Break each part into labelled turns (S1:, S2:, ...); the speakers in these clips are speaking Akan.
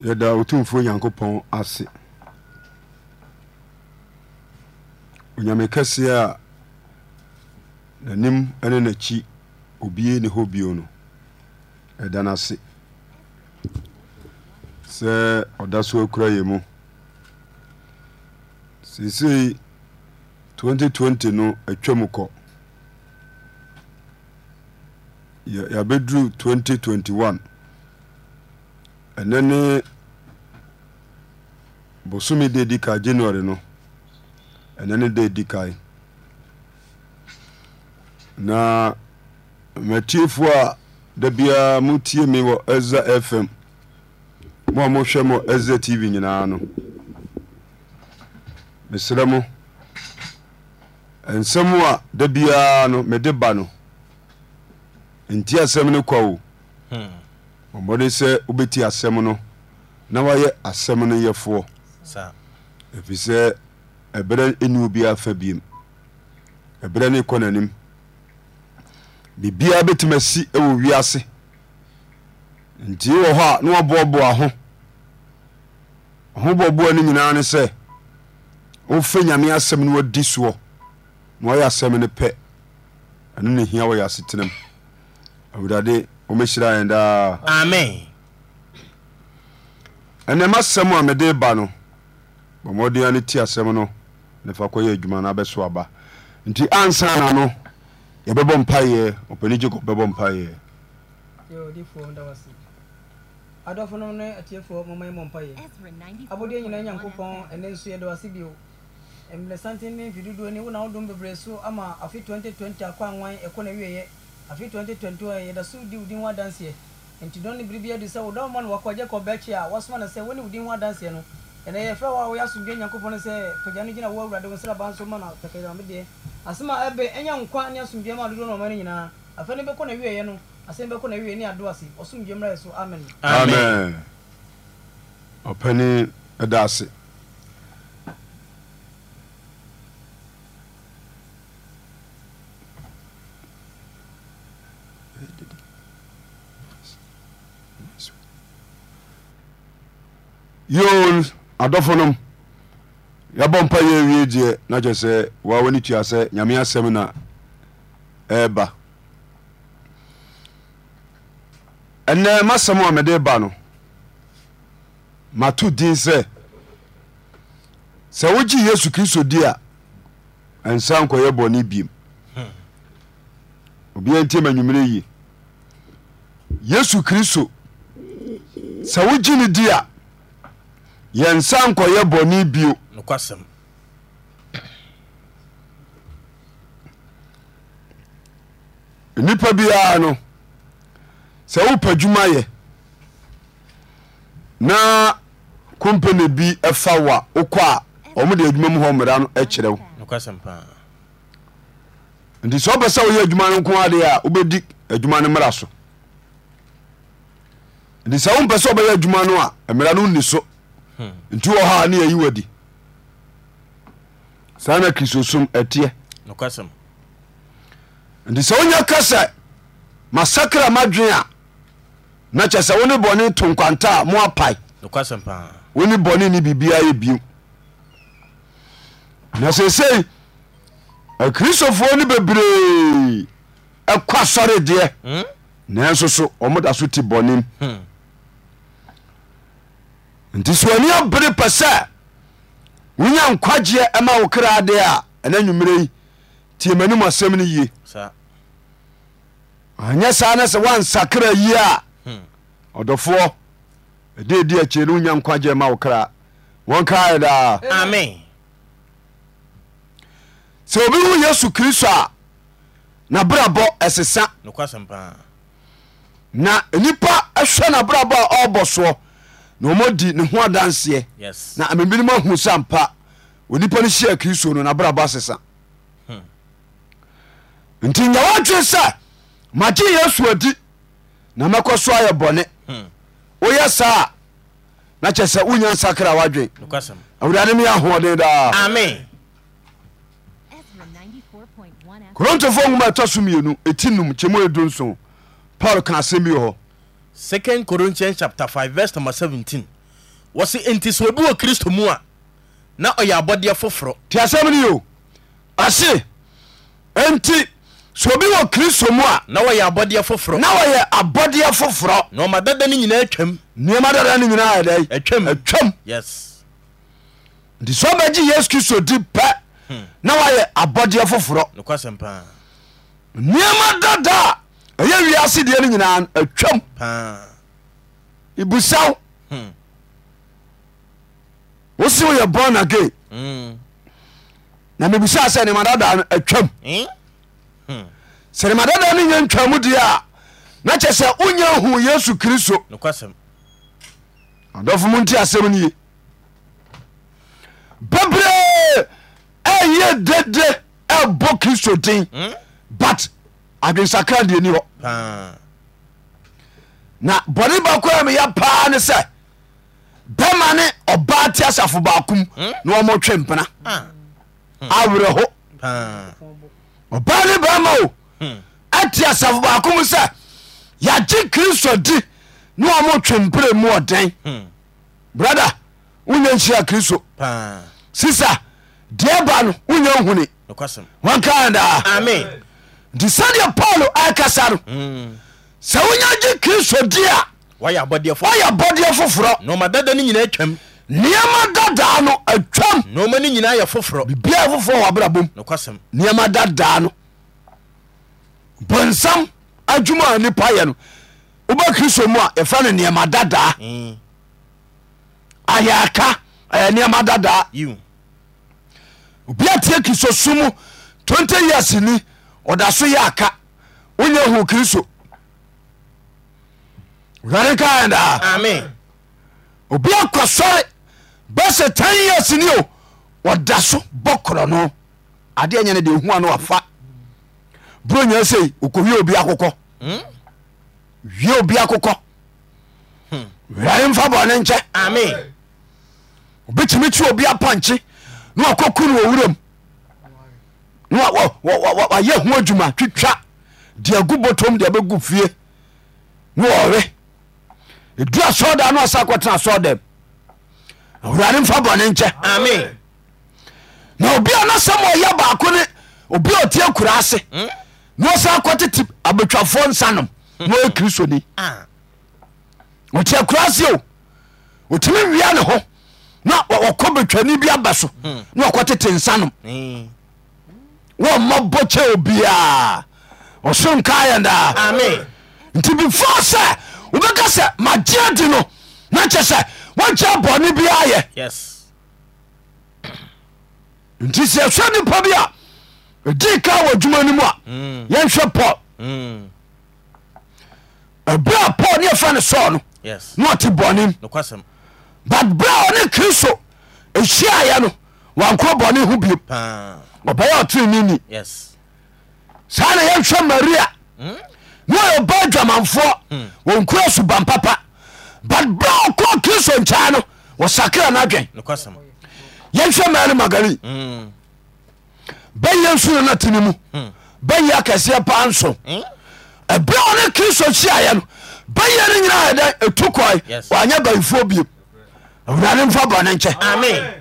S1: yɛda otumfuo nyankopɔn ase onyame kɛseɛ a n'anim ne n'akyi obie ne hɔ bio no yɛda no ase sɛ ɔda so akura yɛ mu seesei 2020 no atwa mu kɔ Yɛ- yɛabɛduru 2021 ɛnɛ ne bosome de di kae january no ɛnɛ ne de di kae na matiefoɔ a da biara motie me wɔ ɛza fm mo a mohwɛ mo ɛza tv nyinaa no mesrɛ mo nsɛm a da biara no mede ba no nti asɛm no kwa o
S2: Hmm.
S1: ɔmmɔde sɛ wobɛti asɛm no na woayɛ asɛm no yɛfoɔ
S2: saa
S1: ɛfiri sɛ ɛberɛ ɛni obiaa fa biem ɛberɛ ne kɔ n'anim biribiaa bɛtumi asi ɛwɔ wiase nti wɔ hɔ a na waboaboa ho ɔhoboaboa no nyinaa ne sɛ wofa nyame asɛm no wadi soɔ na wayɛ asɛm no pɛ ɛno ne hia wɔyɛ asetenam awurade wɔmɛhyira yɛn daa
S2: amen
S1: ɛnɛma asɛm a mede ba no bɔ mmɔden no ti asɛm no ne fa kɔyɛ adwuma no abɛso aba nti ansa na no yɛbɛbɔ mpayɛ ɔpani gye kɔ bɛbɔ mpayɛ
S3: Yɛ odiyifoɔ wo dawɔ ase. adɔfonom ne atiefoɔ moma yɛ mɔ mpayɛ abodeɛ nyinaa nyankopɔn ɛne nso yɛdɔ ase bio mmerɛ santen ne mfidodoɔ ni wona wodom bebree so ama afe 2020 akɔ anwan ɛkɔ na wieɛ afe 2021 ɛ, yɛda so wodi wo din ho adanseɛ nti dɔn ne biribi adu sɛ wodɔ ma no wakɔgye kɔ bɛkye a wasoma no sɛ wone wo din ho adanseɛ no ɛnɛ yɛfrɛ wo a woyɛ asomdwe nyankopɔn no sɛ pagya no gyina wo awurade wo nsraba nso ma no takayamedeɛ asɛm a ɛbɛ ɛnya nkwa ne asomdwe ma dodoɔ nɔma no nyinaa afɛ no bɛkɔ na wieɛ no asɛm bɛkɔ na wieɛ ne ado ase ɔsomdwe mmra yɛ so amen
S1: amen ɔpani ɛda ase yoo adɔfonom yɛbɔ mpa yɛ awie deɛ na kyɛ sɛ waa w'ani tua sɛ nyame asɛm na ɛɛba ɛnɛ masɛm a mede ba no mato din sɛ sɛ wogye yesu kristo di a ɛnsa nkɔyɛ bɔne biem obia ntiam anwumere yi yesu kristo sɛ wogye no di a yɛnsa nkɔyɛ bɔne bio
S2: nokwasɛm
S1: nnipa biara no sɛ wopɛ adwuma yɛ na kompene bi ɛfa wo a wokɔ a ɔmode adwuma mu hɔ mmara no ɛkyerɛ wo
S2: nokwasɛm paa
S1: nti sɛ wopɛ sɛ woyɛ adwuma no nko adeɛ a wobɛdi adwuma no mmara so nti sɛ wompɛ sɛ wobɛyɛ adwuma no a mmara no nni so nti wɔ hɔ a ne yɛyi wadi saa na kristosom ɛteɛ
S2: nokwasɛm
S1: nti sɛ wonya ka sɛ masakra madwen a na kyɛ sɛ wo ne bɔne to nkwanta a mo apae
S2: nokwasɛm paa
S1: wo ne bɔne ne biribiaa yɛ bio na seesei akristofoɔ ne bebree ɛkɔ asɔre deɛ
S2: Hmm?
S1: nanso so ɔmoda so te bɔnem
S2: Hmm.
S1: nti sɛ ani abere pɛ sɛ wonya nkwagyeɛ ɛma wo kra deɛ a ɛna nwummerɛ yi tie m'anim asɛm no yie
S2: saa
S1: anyɛ saa na sɛ woansakra yie a
S2: Hmm.
S1: ɔdɔfoɔ ɛde di akyire no wonya nkwagyeɛ ma wo kra wɔnkaɛ daa
S2: amen
S1: sɛ obi wo yesu kristo a nabrabɔ ɛsesa
S2: nokwasɛm paa
S1: na nipa ɛhwɛ nabrabɔ a ɔbɔ soɔ na ɔmɔdi ne ho adanseɛ
S2: yes
S1: na amebinom ahu sa mpa onipa no hyia kristo no nabrabɔ asesa
S2: Hmm.
S1: nti nya woadwe sɛ magye yesu adi na mɛkɔ so ayɛ bɔne
S2: Hmm.
S1: woyɛ saa a na kyɛ sɛ wonya nsakra woadwen
S2: nokwasɛm
S1: awurade meyɛ ahoɔden daa
S2: amen
S1: korontofoɔ nwoma a ɛtɔ so mmienu ɛti num kyɛmu a ɛdu nson paul ka asɛm bi wɔ hɔ
S2: 2 corinthians chapter 5 verse number 17 wɔse enti sɛ obi wɔ kristo mu a na ɔyɛ abɔdeɛ foforɔ
S1: nti asɛm ne yo ase enti sɛ obi wɔ kristo mu a
S2: na wɔyɛ abɔdeɛ foforɔ
S1: na wɔyɛ abɔdeɛ foforɔ
S2: na ɔma dada no nyinaa atwam
S1: nneɛma dada no nyinaa ɛdɛ
S2: atwam
S1: atwam
S2: yes
S1: nti sɛ ɔbɛgye yesu kristo di pɛ
S2: Hmm.
S1: na wɔyɛ abɔdeɛ foforɔ
S2: nokwasɛm paa
S1: nneɛma dada a ɛyɛ wiase deɛ no nyinaa no, atwam
S2: paa
S1: ibusaw
S2: Hmm.
S1: wosi woyɛ born again
S2: Mm.
S1: na mebusaa sɛ nneɛma dada no atwam
S2: Eh?
S1: sɛ nneɛma dada no nyɛ ntwamu deɛ a na kyɛ sɛ wonya hu yesu kristo
S2: nokwasɛm
S1: adɔfo mu nti asɛm no ye bebree ɛyɛ dede ɛbɔ kristo din
S2: Mm.
S1: but adwensakra deɛ ni hɔ
S2: paa
S1: na bɔne baako a meyɛ paa ne sɛ bɛma ne ɔbaa te asafo baakom na ɔmɔtwe mpena
S2: Ah,
S1: awerɛho
S2: paa
S1: ɔbaa ne bɛma o
S2: Hmm.
S1: ɛte asafo baakom sɛ yɛgye kristo di na ɔmɔtwe mpere mu ɔden
S2: Hmm.
S1: brada wonya nhyira kristo
S2: paa
S1: sisa deɛ ba no wonya hune
S2: nokwasɛm
S1: wankaa daa
S2: amen
S1: nti sɛdeɛ paulo akasa no
S2: Mm.
S1: sɛ wonya gye kristo di a
S2: wɔyɛ abɔdeɛ foforɔ
S1: woyɛ bɔdeɛ foforɔ
S2: na ɔma dada no nyinaa atwam
S1: nneɛma dadaa no atwam
S2: na ɔma no nyinaa yɛ foforɔ
S1: bia foforɔ wabrabom
S2: nokwasɛm
S1: nneɛma dadaa no bonsam adwuma a nipa yɛ no woba kristo mu a yɛfrɛ no nneɛma dadaa
S2: Mm.
S1: ayɛ aka ɛyɛ nneɛma dadaa
S2: you
S1: obia tie kristo so mu 20 years ni ɔda so yɛ aka wonya hu kristo wurade kaɛdaa
S2: amen
S1: obia kɔ sɔre bɛsɛ 10 years ni o ɔda so bɔ korɔ no adeɛ nyɛ no deɛ ohua no wafa buro nya sei okɔwie obi akokɔ
S2: Mm.
S1: wie obi akokɔ wurade mfa bɔne nkyɛ
S2: amen
S1: obɛtumi kyi obi apɔnkye na wakɔku no wɔwuram na wa- wa- wa- wa- wa- wayɛ ho adwuma twitwa de agu botom de abɛgu fie na wɔwe ɛdu asɔɔda na ɔsa kɔtena asɔɔdam awurade mfa bɔne nkyɛ
S2: amen
S1: na obi a nasɛm ɔyɛ baako ne obi a ɔtie kura ase na ɔsa kɔtete abatwafoɔ nsa nom na ɔyɛ kristoni
S2: Ah.
S1: ɔtiɛ kura se o ɔtumi wia ne ho na wɔ- wɔkɔ betwani bi aba so na wɔkɔtete nsa nom
S2: Mm.
S1: wɔmmɔ bɔkyɛ obiaa ɔso nkaayɛ daa
S2: amen
S1: nti before sɛ wobɛka sɛ magyeɛ di no na kyɛ sɛ woakyɛ bɔne biaa yɛ
S2: yes
S1: nti sɛ ɛsɛ nipa bi a ɛdii ka wɔ adwuma no mu a
S2: Mm.
S1: yɛnhwɛ paul
S2: Mm.
S1: ɛberɛ a paul ne yɛfrɛ no sɔɔ no
S2: yes
S1: na ɔte bɔnem
S2: nokwasɛm
S1: but berɛ a ɔne kristo ɛhyiaeɛ no wankorɔ bɔne ho biom
S2: paa
S1: ɔbɛyɛ ɔterenini
S2: yes
S1: saa na yɛhwɛ maria
S2: Mm.
S1: na ɔyɛ ba adwamanfoɔ wɔnkura suban papa but berɛ a ɔkɔɔ kristo nkyɛe no wɔsakra no adwen
S2: nokwasɛm
S1: yɛhwɛ mary magali
S2: Mm.
S1: bɛyɛ nsu no natene mu bɛyɛ akɛseɛ paa nso
S2: Mm.
S1: ɛberɛ a ɔne kristo hyiaeɛ no bɛyɛ no nyinaa ɛdɛ ɛtu kɔe
S2: Yes.
S1: wɔanyɛ bayifoɔ biem awurade mfa bɔne nkyɛ
S2: amen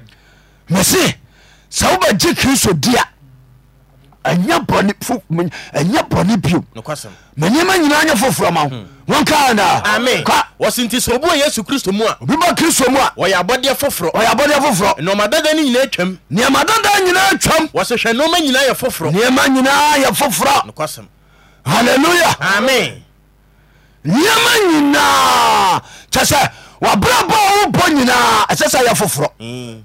S1: mese sɛ wobɛgye kristo di a ɛnyɛ bɔne fo- ɛnyɛ bɔne biom
S2: nokwasɛm
S1: manyɛma nyinaa nyɛ foforɔ ma wo
S2: Hmm. amen
S1: wɔnkaa ka
S2: wɔse nti sɛ obi wɔ yesu kristo mu a
S1: obi ba kristo mu a
S2: wɔyɛ abɔdeɛ foforɔ
S1: ɔyɛ abɔdeɛ foforɔ
S2: na ɔma dada no nyinaa atwam
S1: nneɛma dada nyinaa twam
S2: wɔse hwɛ nnoɔma nyinaa yɛ foforɔ
S1: nneɛma nyinaa yɛ foforɔ
S2: nokwasɛm
S1: halleluya
S2: amen
S1: nneɛma nyinaa kyɛ sɛ wabrabɔ a wobɔ nyinaa ɛsɛ sɛ yɛ foforɔ
S2: Mm.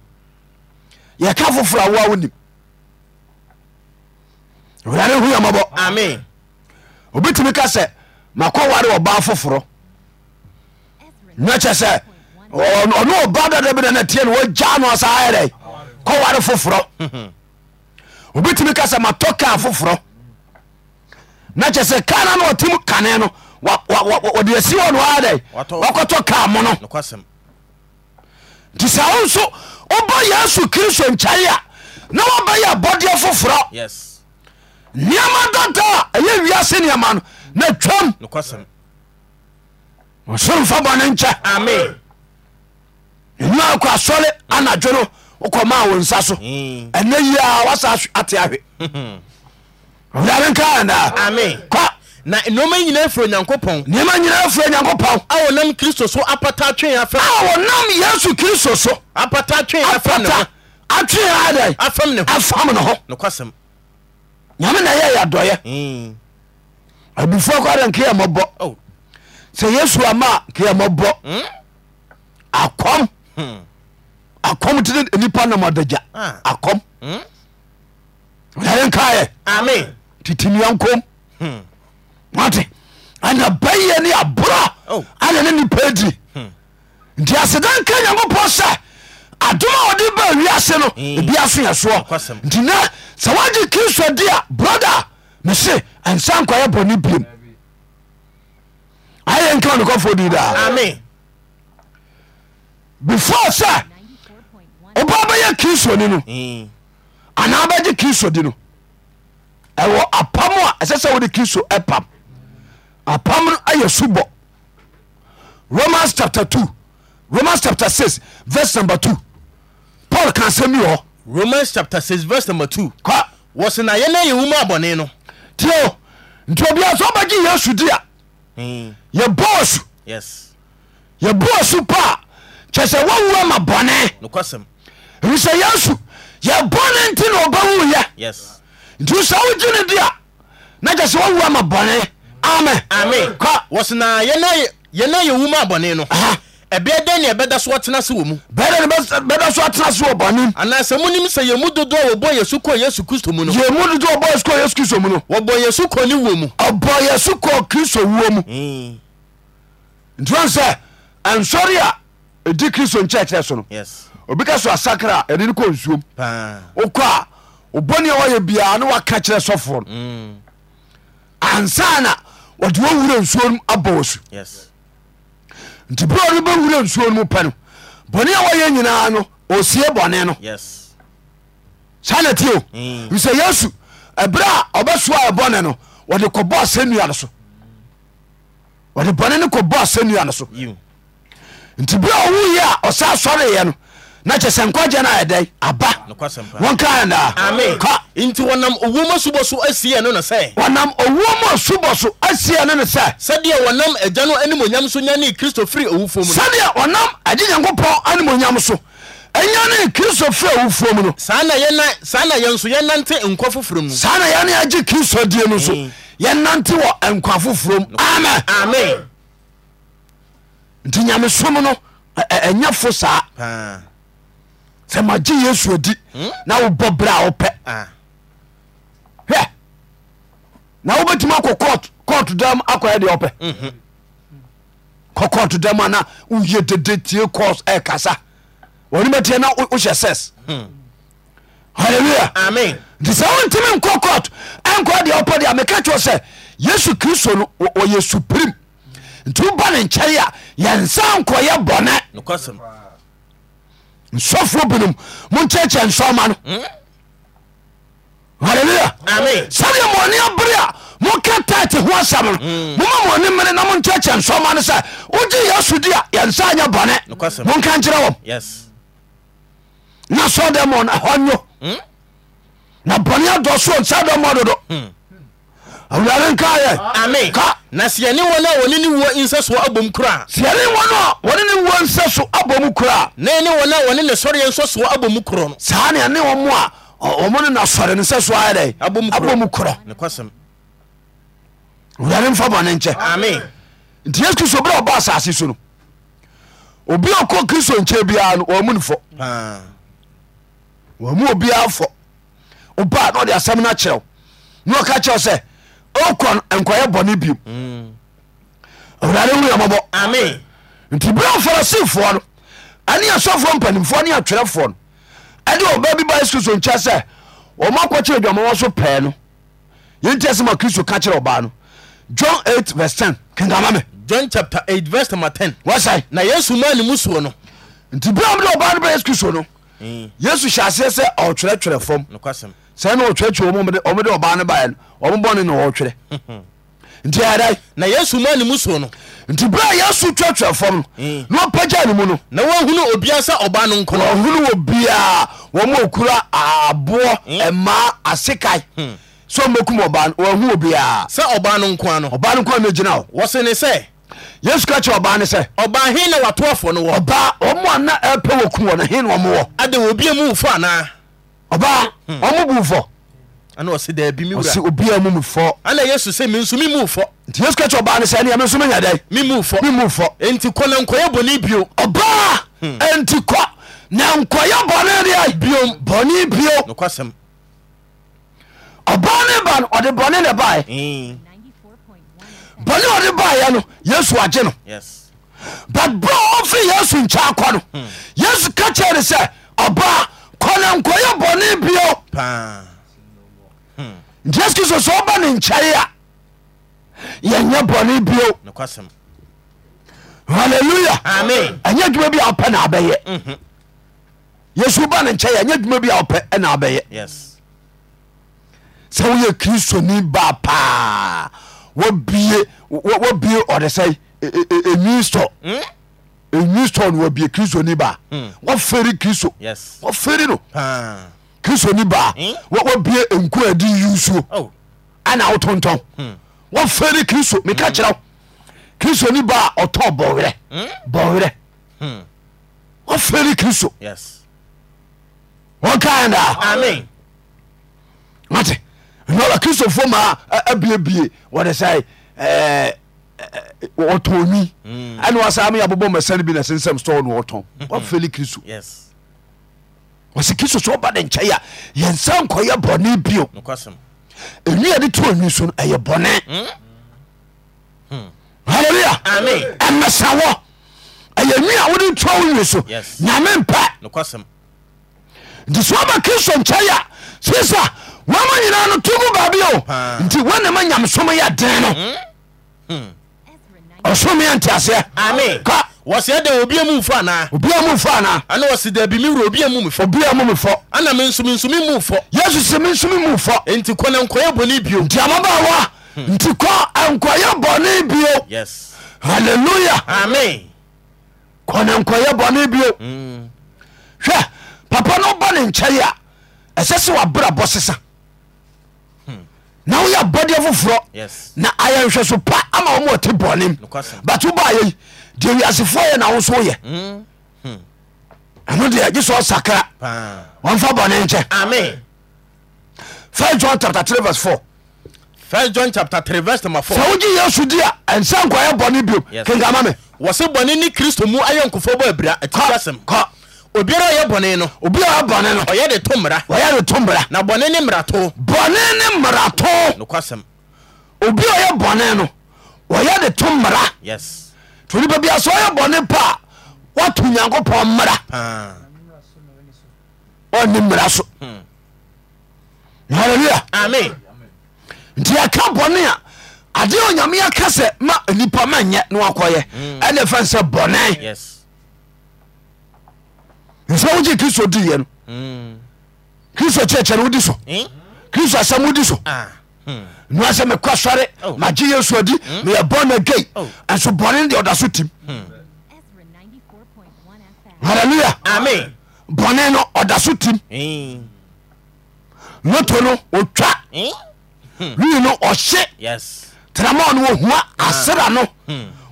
S1: yɛka foforɔ a woa wonim wurade hu yɛmɔbɔ
S2: amen
S1: obɛtumi ka sɛ makɔware ɔbaa foforɔ na kyɛ sɛ ɔ- ɔne ɔba dada bi na na tie no wagya no asa ayɛ dɛ kɔware foforɔ obɛtumi ka sɛ matɔ kaa foforɔ na kyɛ sɛ kaa na na ɔtem kane no wa- wa- wa- wa- wɔde asi hɔ no ayɛ dɛ
S2: Watɔ-
S1: wakɔtɔ kaa mo no
S2: nokwasɛm
S1: nti sɛ wo nso wobɔ yesu kristo nkyɛe a na wobɛyɛ bɔdeɛ foforɔ
S2: yes
S1: nneɛma dada a ɛyɛ wiase nneɛma no na twam
S2: nokwasɛm
S1: ɔsoro mfa bɔne nkyɛ
S2: amen
S1: nti saa kɔ asɔre anadwo no wokɔmaa wo nsa so
S2: Mm.
S1: ɛnɛ yia wasa ate ahwe ɔdade nka ɛnaa
S2: Amen.
S1: kɔ
S2: na nneɛma nyinaa firi onyankopɔn
S1: nneɛma nyinaa firi nyankopɔn
S2: a wɔnam kristo so apata atwe yɛn
S1: a
S2: afam
S1: wɔnam yesu kristo so
S2: apata atwe yɛn afam ne ho
S1: apata atwee adɛn
S2: afam ne ho
S1: afam ne ho
S2: nokwasɛm
S1: nyame na ɛyɛ yɛdɔyɛ
S2: Mm.
S1: abufuo kɔde nkeyɛ mɔbɔ
S2: Oh.
S1: sɛ yesu ama keyɛ mɔbɔ
S2: Mm.
S1: akɔm
S2: Hmm.
S1: akɔm tene nipa namadagya
S2: Ah.
S1: akɔm
S2: Mm.
S1: ɔdade nkaɛ
S2: amen
S1: titimiya nkom
S2: Hmm.
S1: wate ana bɛyɛ ne aboro
S2: Oh. Hmm.
S1: ana ne nipa di nti asedanka nyankopɔn sɛ adom a ɔde ba wiase no
S2: Mm.
S1: ebia so yɛ soɔ
S2: Nokwasɛm.
S1: nti na sɛ woagye kristo di a broda mese ɛnsa nkɔyɛ bɔne biom ayɛ nka nokɔfoɔ di daa
S2: amen
S1: before sɛ woba bɛyɛ kristoni no
S2: Mm.
S1: anaa bɛgye kristo di no ɛwɔ apam a ɛsɛ sɛ wode kristo ɛpam apam no ayɛ subɔ romans chapter 2 romans chapter 6 verse number 2 paul ka asɛm bi wɔ hɔ
S2: romans chapter 6 verse number 2
S1: ka
S2: wɔse na yɛna yɛwu mu abɔne no
S1: tio nti obia sɛ wobɛgye yesu di a
S2: Mm.
S1: yɛbɔɔ su
S2: yes
S1: yɛbɔɔ su pa a kyɛ sɛ woawu ama bɔne
S2: nokwasɛm
S1: ɛfisɛ yesu yɛbɔne nti na ɔbɛwuyɛ
S2: yes
S1: nti sɛ wogye no di a na kyɛ sɛ woawu ama bɔne amen
S2: amen
S1: ka
S2: wɔse na yɛna yɛna yɛwu mu abɔne no
S1: Aha.
S2: ɛbɛɛ dɛn ne ɛbɛda so ɔtena se wɔ mu
S1: bɛda ne bɛda so atena so wɔ bɔnem
S2: anaasɛ monim sɛ yɛmu dodoɔ a wɔbɔ yesu kɔ yesu kristo mu no
S1: yɛ mu dodo ɔbɔ yesu kɔ yesu kristo mu no
S2: wɔbɔ yesu kɔ ne wɔ mu
S1: ɔbɔ yesu kɔ kristo wuo mu
S2: Mm,
S1: nti wɔn sɛ ɛnsɔre a ɛdi kristo nkyerɛkyerɛ so no
S2: yes
S1: obi ka so asakra a ɛde no kɔ nsuom
S2: paa
S1: wokɔ a wobɔne a wɔyɛ biaa ne waka kyerɛ sɔfoɔ no
S2: Mm,
S1: ansa na wɔde wɔwura nsuo no abɔ wɔ su
S2: yes
S1: nti berɛ no bɛwura nsuo no mu pɛ no bɔne a wɔyɛ nyinaa no ɔsie bɔne no
S2: yes
S1: saa na tio
S2: Mm.
S1: sɛ yesu ɛberɛ a ɔbɛsoa ɛbɔne no wɔde kɔbɔ asɛnnua no so wɔde bɔne no kɔbɔ asɛnnua no so
S2: you
S1: nti berɛ a ɔwuyi a ɔsa sɔreeɛ no na kyɛ sɛ nkwagye no ayɛ dɛn aba
S2: nokwasɛm paa
S1: wɔnkaɛnaa
S2: amen
S1: ka
S2: nti wɔnam owuo ma subɔ so asiɛ no no sɛ
S1: wɔnam owuo mu asubɔ so asie no ne sɛ
S2: sɛdeɛ wɔnam agya no animonyam so nyane kristo firi owufo mu no
S1: sɛdeɛ ɔnam agye nyankopɔn animonyam so ɛnya ne kristo firi awufuo mu no
S2: saa na yɛna saa na yɛn so yɛnante nkwa foforɔ mu
S1: saa na yɛne agye kristo die no so
S2: Mm.
S1: yɛnante wɔ nkwa foforom amen
S2: amen
S1: nti nyamesom no ɛ- ɛ- ɛnyɛ fo saa
S2: paa
S1: sɛ magye yesu adi
S2: Hmm?
S1: na wobɔ berɛ a wopɛ
S2: Ah,
S1: hwɛ na wobɛtumi akɔ court- court dam akɔyɛ deɛ wopɛ
S2: Mhm.
S1: kɔ court dam ana woyɛ dede tie court ɛkasa wɔne bɛtiɛ na wo- wohyɛ ses
S2: Hmm.
S1: halleluya
S2: amen
S1: nti sɛ wontimi nkɔ court ɛnkɔ deɛ wopɛ deɛ a, meka kyerɛ wo sɛ yesu kristo no wɔ- ɔyɛ supreme nti woba ne nkyɛe a yɛnsa nkɔyɛ bɔne
S2: nokwasɛm
S1: nsɔfoɔ binom monkyɛkyɛ nsɔma no halleluya
S2: Amen.
S1: sɛdeɛ mɔne abere a moka tate ho asɛm no moma mɔne mmere na monkyɛkyɛ nsɔma no sɛ wogye yesu di a yɛnsa nyɛ bɔne
S2: Nokwasɛm.
S1: monka nkyerɛ wɔm
S2: yes
S1: na sɔdɛmɔ no ɛhɔ
S2: Hmm?
S1: nwo na bɔne adɔ so nsa dɔmɔ dodo awurade
S2: Hmm. amen
S1: nkayɛ ka
S2: na sɛ yɛne wɔn a wɔne ne wuo nsɛsoɔ abom koraa
S1: siɛne wɔ no a wɔne ne wɔ nsɛ so abɔ mu koraa
S2: na ɛne wɔn a wɔne ne sɔreɛ nsɔsoɔ abom korɔ no
S1: saa ne ɛne wɔ mo a ɔ- ɔmo no nasɔre no sɛ so ayɛ dɛ
S2: Abɔ mu korɔ.
S1: abɔ mu korɔ
S2: nokwasɛm
S1: wurade mfa bɔne nkyɛ
S2: amen
S1: nti yesu kristo berɛ a ɔba asase so no obi a ɔkɔ kristo nkyɛ biara no ɔmu no fɔ
S2: paa
S1: ɔmu obiara fɔ woba na ɔde asɛm no akyerɛ wo na ɔka kyerɛ wo sɛ ɔkɔ nkɔyɛ bɔne biom awurade wu yɛmɔbɔ
S2: amen
S1: nti berɛ a farisifoɔ no ɛne asɔfoɔ mpanimfoɔ ne atwerɛfoɔ no ɛde ɔbaa bi ba yesu kristo nkyɛ sɛ ɔma akɔkyerɛ adwamawɔ so pɛɛ no yɛnti ɛsɛ ma kristo ka kyerɛ ɔbaa no john 8 vs 10 kenkama me
S2: john chapter 8 verse number 10
S1: wasae
S2: na yesu maa ne mu suo no
S1: nti berɛ a mede ɔbaa no ba yesu kristo no yesu hyɛ aseɛ sɛ ɔtwerɛtwerɛ fam
S2: nokwasɛm
S1: sɛ na ɔtwerɛtwerɛ ɔmde ɔbaa no baɛ no ɔmobɔne na ɔtwerɛ nti ɛdɛ
S2: na yesu ma ne mu so no
S1: nti berɛ a yesu twɛtwɛ fam no
S2: Mm.
S1: na ɔpagya ne mu no
S2: na woahunu obia sɛ ɔba no nko no
S1: ɔhunu wɔ biaa wɔma okura aboɔ ɛmaa asekae sɛ ɔmɛkum ɔba no ɔhu wɔ biaa
S2: sɛ ɔba no nko a no
S1: ɔba no kɔa megyina hɔ
S2: wɔse ne sɛ
S1: yesu ka kyerɛ ɔbaa ne sɛ
S2: ɔbaa he na watoafoɔ no wɔ
S1: ɔbaa ɔmo a na ɛpɛ wɔ kum wɔ no he na ɔmo wɔ
S2: ada obia mu wofo anaa
S1: ɔbaa ɔmo bu fɔ
S2: ana ɔse daabi me
S1: ɔsi
S2: wura
S1: obiaa mu mufɔ
S2: ana yesu sɛ me nso me mufɔ
S1: nti yesu ka kyerɛ ɔbaa ne sɛ neɛ me nso menya dɛn
S2: me
S1: me
S2: mufɔ
S1: mufɔ
S2: enti kɔ na nkɔyɛ bɔne bio Hmm.
S1: ɔbaa ɛnti kɔ na nkɔyɛ bɔne deɛ biom bɔne bio
S2: nokwasɛm
S1: ɔbaa ne ba no ɔde bɔne ne baɛ
S2: Mm,
S1: bɔne a ɔde baeɛ no yesu agye no
S2: yes
S1: but bro ɔfiri yesu nkyɛn akɔ
S2: Hmm.
S1: no yesu ka kyerɛ ne sɛ ɔbaa kɔ na nkɔyɛ bɔne bio
S2: paa
S1: nti yesu kristo sɛ ɔba ne nkyɛe a yɛnyɛ bɔne bio
S2: nokwasɛm
S1: halleluya
S2: Amen.
S1: ɛnyɛ adwuma bi a wopɛ na abɛyɛ yesu ba ne nkyɛe ɛnyɛ adwuma bi a wopɛ ɛna abɛyɛ
S2: yes
S1: sɛ woyɛ kristoni ba paa wabie wa- wabie ɔde sɛ e, ɛnwi stɔ ɛnwi stɔ no wabie kristoni ba waferi kristo
S2: yes
S1: waferi no
S2: paa
S1: kristoni ba
S2: Mm.
S1: wa- wabie nkuadi yusuo
S2: oh
S1: ana wotontɔn waferi kristo meka kyerɛ wo kristoni ba a ɔtɔ bɔwerɛ bɔwerɛ waferi kristo
S2: yes
S1: wɔkaɛndaa
S2: amen
S1: mate nɔba kristofoɔ ma a- abiebie wɔde sɛ ɛɛ, ɛ- wɔtɔn nwi ɛne wasaa me yɛabobɔ masane bi na sensɛm stɔɔ no wɔtɔn wafeli kristo
S2: yes
S1: ɔsɛ kristo sɛ woba de nkyɛe a yɛnsa nkɔyɛ bɔne bio
S2: nokwasɛm
S1: ɛnwi yɛde too nwi so no ɛyɛ bɔne halleluya
S2: Amen.
S1: ɛmɛsawɔ ɛyɛ nwi a wode toa wo nwi so
S2: Yes.
S1: nyame mpɛ
S2: nokwasɛm
S1: nti sɛ woba kristo nkyɛe a sisa wama nyinaa no to mu baabi o
S2: Paa.
S1: nti wanama nyamesom yɛ den no
S2: Mm-hmm.
S1: ɔsome yɛ nteaseɛ
S2: Amen.
S1: ka
S2: wɔse ada obia mu mfo anaa
S1: obia mu mfa anaa
S2: ana wɔse daabi me wura obia mu mefɔ
S1: obia mu mefɔ
S2: ana me nso me nso me mufɔ
S1: yesu sɛ mensome mu mfɔ
S2: enti kɔ na nkɔyɛ bɔne bio
S1: nti amabaawa nti kɔ nkɔyɛ bɔne bio
S2: Hmm. yes
S1: halleluya
S2: amen
S1: kɔne nkɔyɛ bɔne bio
S2: Mm,
S1: hwɛ papa no ba ne nkyɛe a ɛsɛ sɛ wabrabɔ sesa na woyɛ bɔdeɛ foforɔ
S2: Hmm. yes
S1: na ayɛ nhwɛ so pa ama wɔn a wɔte bɔnem
S2: Nokwasɛm. Hmm.
S1: but wobaayɛ yi deɛ wiasefoɔ yɛ na wo nso woyɛ ɛno deɛ gye sɛ ɔsakra
S2: paa
S1: wɔmfa bɔne nkyɛ
S2: amen
S1: 5 john chapter 3 verse 4
S2: first john chapter three verse number four
S1: sɛ wogye yesu di a ɛnsa nkɔyɛ bɔne biom
S2: Yes.
S1: kenkama me
S2: wɔse bɔne ne kristo mu ayɛ nkofo bɔ abira
S1: Kɔ,
S2: ɛtiasɛm
S1: kɔ
S2: obiara a ɔyɛ bɔne no
S1: obi a wɔyɛ bɔne no
S2: ɔyɛ de to mmara
S1: wɔyɛ ne to mmara
S2: na bɔne ne mmarato
S1: bɔne ne mmarato
S2: nokwasɛm
S1: obi a ɔyɛ bɔne no wɔyɛ de to mmara
S2: yes
S1: nti onipa bia sɛ ɔyɛ bɔne pa a wato nyankopɔn mmara
S2: paa
S1: ɔne mmara so
S2: Hmm.
S1: halleluya
S2: amen
S1: nti yɛka bɔne a adeɛ a onyame aka sɛ ma nipa ma nyɛ na
S2: Hmm.
S1: wakɔyɛ ɛne ɛfa n sɛ bɔne
S2: yes
S1: nsɛ wogye kristo diiɛ no
S2: Mm,
S1: kristo kyerɛkyɛ no wodi so
S2: eh?
S1: kristo asɛm wodi so
S2: Ah, hmm,
S1: nua sɛ mekɔ sɔre
S2: Oh. Hmm.
S1: magye yesu adi meyɛ bɔne adwei
S2: Oh. Hmm.
S1: ɛnso bɔne no deɛ ɔda so tim halleluya
S2: amen
S1: bɔne no ɔda so tim
S2: Eh,
S1: loto no ɔtwa
S2: eh?
S1: wii no ɔhye
S2: yes
S1: trama no wɔhua asera no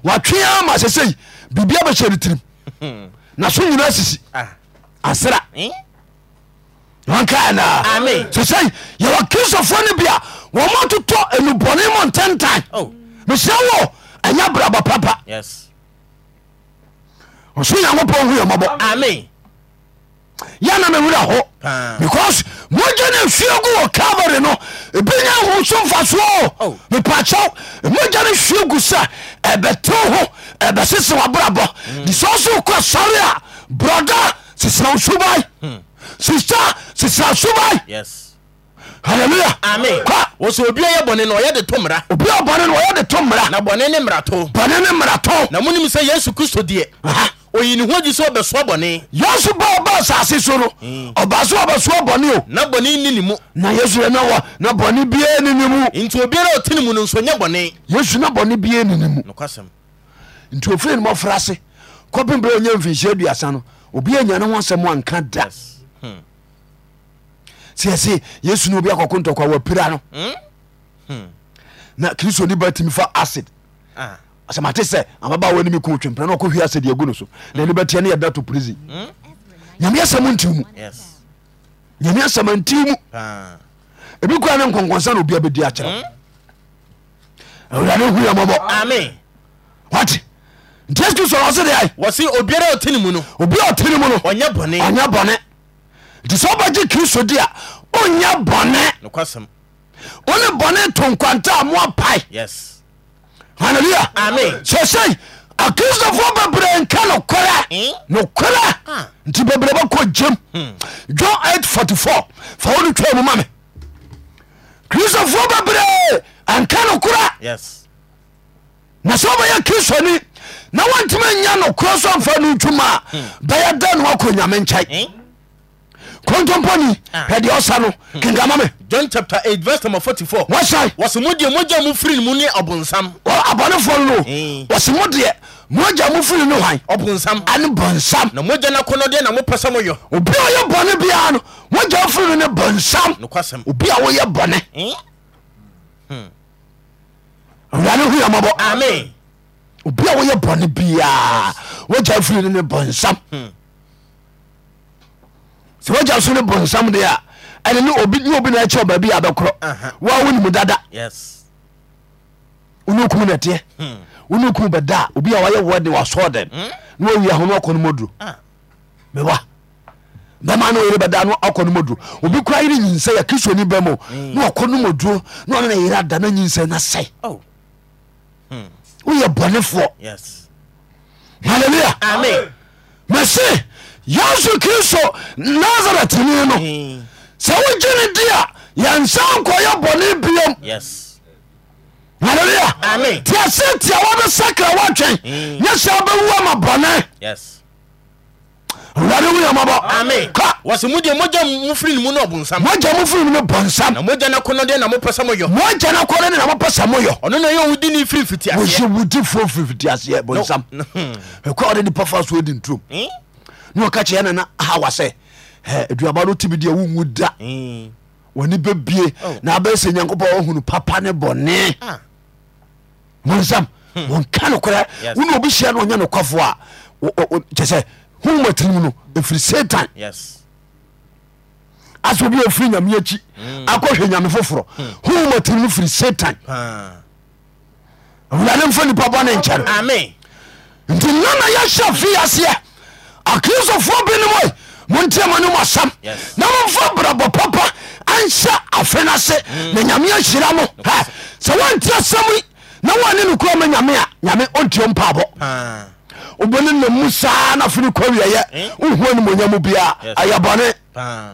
S1: watwea ma sɛ sɛi biribia bɛhyɛ no tirim na so nyina sisi
S2: Ah,
S1: asera
S2: eh?
S1: wankaɛnaa
S2: Amen.
S1: sesɛi yɛwɔ kristofoɔ no bia wɔma totɔ anubɔne mɔ ntantan
S2: Oh.
S1: mehyɛ wɔ ɛnyɛ braba papa
S2: yes
S1: ɔso nyankopɔn hu yɛmmɔbɔ
S2: amen
S1: yɛna mewura
S2: Ah.
S1: hɔ because mogya no hwie gu wɔ calvary no ɛbɛnya ho so mfasoɔ
S2: Oh.
S1: mepakyɛw mogya no hwie gu sɛ ɛbɛtew ho ɛbɛsese
S2: Hmm.
S1: wabrabɔ de sɛ so wokɔ sɔre a brɔda sesera wo
S2: Hmm.
S1: subae sista sesera subae
S2: yes
S1: halleluya
S2: amen
S1: Kɔ.
S2: wɔsɛ obi a ɔyɛ bɔne no ɔyɛ de to mmara
S1: obi a ɔbɔne no wɔyɛ de to mmara
S2: na bɔne ne mmarato
S1: bɔne ne mmarato
S2: na monim sɛ yesu kristo deɛ
S1: Aha.
S2: oyi ne ho gyi sɛ ɔbɛsoa bɔne
S1: yesu ba ɔba asase so no
S2: Hmm.
S1: ɔba so ɔbɛsoa bɔne o
S2: na bɔne nni ne mu
S1: na yesu yɛ na wɔ na bɔne biaa ni ne mu
S2: nti obiara a ɔte ne mu no nso nyɛ bɔne
S1: yesu na bɔne biaa ni ne mu
S2: nokwasɛm
S1: nti ofiri ne mɔfra ase kɔpempere onya mfinhyia aduasa no obia nya ne ho asɛm anka da
S2: Yes.
S1: sɛsɛ yesu ne obi akɔko ntɔkwa wapira no na kristo ni ba timi fa acid
S2: Ah,
S1: asɛmate sɛ amaba wɔ nimi ko twempra na ɔkɔhwie acid agu no so na ɛne bɛtiɛ ne yɛda to prison nyame asɛm ntim mu
S2: yes
S1: nyame asɛm antim mu
S2: paa
S1: ebi kora ne nkɔnkɔnsa na obia bɛdi akyerɛ awurade hu yɛ mmɔbɔ
S2: ame
S1: wat nti yesu kristo ɔse de ai
S2: wɔ se obiara a ɔte ne mu no
S1: obi a ɔtene mu no
S2: ɔnyɛ bɔne
S1: ɔnyɛ bɔne nti sɛ wobɛgye kristo di a onyɛ bɔne
S2: nokwasɛm
S1: wone bɔne to nkwanta a moa pae
S2: yes
S1: halleluya
S2: Amen.
S1: sɛsei akristofoɔ bebree nka nokorɛ
S2: Eh?
S1: nokorɛ
S2: Ah. Hmm.
S1: nti bebree bɛkɔ gyem john 844 fa wode twa mu ma me kristofoɔ bebree anka nokorɛ
S2: yes
S1: na sɛ wobɛyɛ kristoni na wontimi nya nokorɛ so amfa no ntwuma a bɛyɛ da ne woakɔ nyame nkyɛe
S2: Hmm. Eh?
S1: kontompɔni
S2: Ah.
S1: hwɛdeɛ ɔsa no kenkama me
S2: john chapter 8 verse number 44
S1: wɔsae
S2: wɔ se modeɛ mogya mu firi ne mu ne ɔbonsam
S1: wɔ abɔnefoɔ no no
S2: Eh.
S1: wɔse mo deɛ moagya mo firi no hwan
S2: ɔbonsam
S1: ane bɔnsam
S2: na mogya no akɔnnɔdeɛ na mopɛ sɛ moyɔ
S1: obi a ɔyɛ bɔne biara no moagya wo firi no ne bɔnsam
S2: nokwasɛm
S1: obi a woyɛ bɔne
S2: Eh?
S1: awurade hu yamabɔ
S2: ame
S1: obi a woyɛ bɔne biara wagya wo firi no ne bɔnsam
S2: Hmm.
S1: sɛ wagya so ne bɔnsam deɛ a ɛne ne obi ne obi na ɛkyɛ wo baabi a
S2: Aha.
S1: bɛkorɔ woa wonim dada
S2: yes
S1: wone okum no ɛteɛ
S2: Hmm.
S1: wone okum bɛda a obi a wayɛ wɔde wasɔɔ den na wawie ho no wakɔ no mɔduro
S2: Ah.
S1: mewa bɛma ne ɔyere bɛda no akɔ no mɔduro obi kora yere nyinsɛ yɛ kristoni bɛ mu na ɔkɔ no mɔduro na ɔne ne yere ada na nyinsɛ na sɛe
S2: Mm. oh
S1: woyɛ bɔnefoɔ
S2: Hmm. yes
S1: halleluya
S2: ame
S1: mɛse yesu kristo nasaretene no
S2: Eh,
S1: sɛ wogye ne di a yɛnsa nkɔyɛ bɔne biom
S2: yes
S1: halleluya
S2: Amen.
S1: tiase tia wɔde sakra woatwɛn
S2: Mm.
S1: nyɛ sɛ wobɛwu ama bɔne
S2: yes
S1: awurade
S2: ame
S1: woyamabɔ ka
S2: wɔ se modeɛ mogya mu firi ne mu ne ɔbonsam
S1: moagya mo firi mu no
S2: na
S1: bɔnsam
S2: mogya no akɔnnɔdeɛ na mopɛ sɛ moyɔ
S1: moagya no kɔre ne na mopɛ sɛ moyɔ
S2: ɔno na ɛyɛ wodi ne firi mfitiaseɛ
S1: wɔhyɛ wodifoɔ firifiti aseɛ bɔnsam ɛkɔ ɔde nipa fa so adi nturom
S2: Hmm?
S1: ne ɔka kyeɛ nana hawa sɛ "Eh, aduaba no timi deɛ wonwu da
S2: Hmm.
S1: wɔne
S2: Oh.
S1: bɛbie na abɛsɛ nyankopɔn wahunu papa ne bɔne
S2: Ah.
S1: bɔnsam wɔnka nokorɛ
S2: Hmm. Yes.
S1: wone obi hyia no ɔnyɛ nokɔfoɔ a wo- wo- wo- kyɛ sɛ homatirimu no ɛfiri satan
S2: yes
S1: asɛ obi a ɔfiri nyame akyi
S2: Hmm.
S1: akɔhwɛ nyame foforɔ homatirimu firi satan
S2: paa
S1: awurade mfa nipa bɔne
S2: Hmm. Ah.
S1: nkyɛ no
S2: ame
S1: nti nana yɛhyɛ fii aseɛ akristofoɔ binom oi montiama no mu asam
S2: Yes.
S1: na momfa brabɔ papa anhyɛ afe no ase
S2: Mm.
S1: na nyame ahyira mo Ha! sɛ woanti asɛm yi na woane no kura ma nyame a nyame ɔntio mpabɔ
S2: paa
S1: obɔne nam mu saa na afene kɔ wieyɛ
S2: Mm.
S1: wohua no monya mu biaa
S2: Yes.
S1: ayɛ bɔne
S2: paa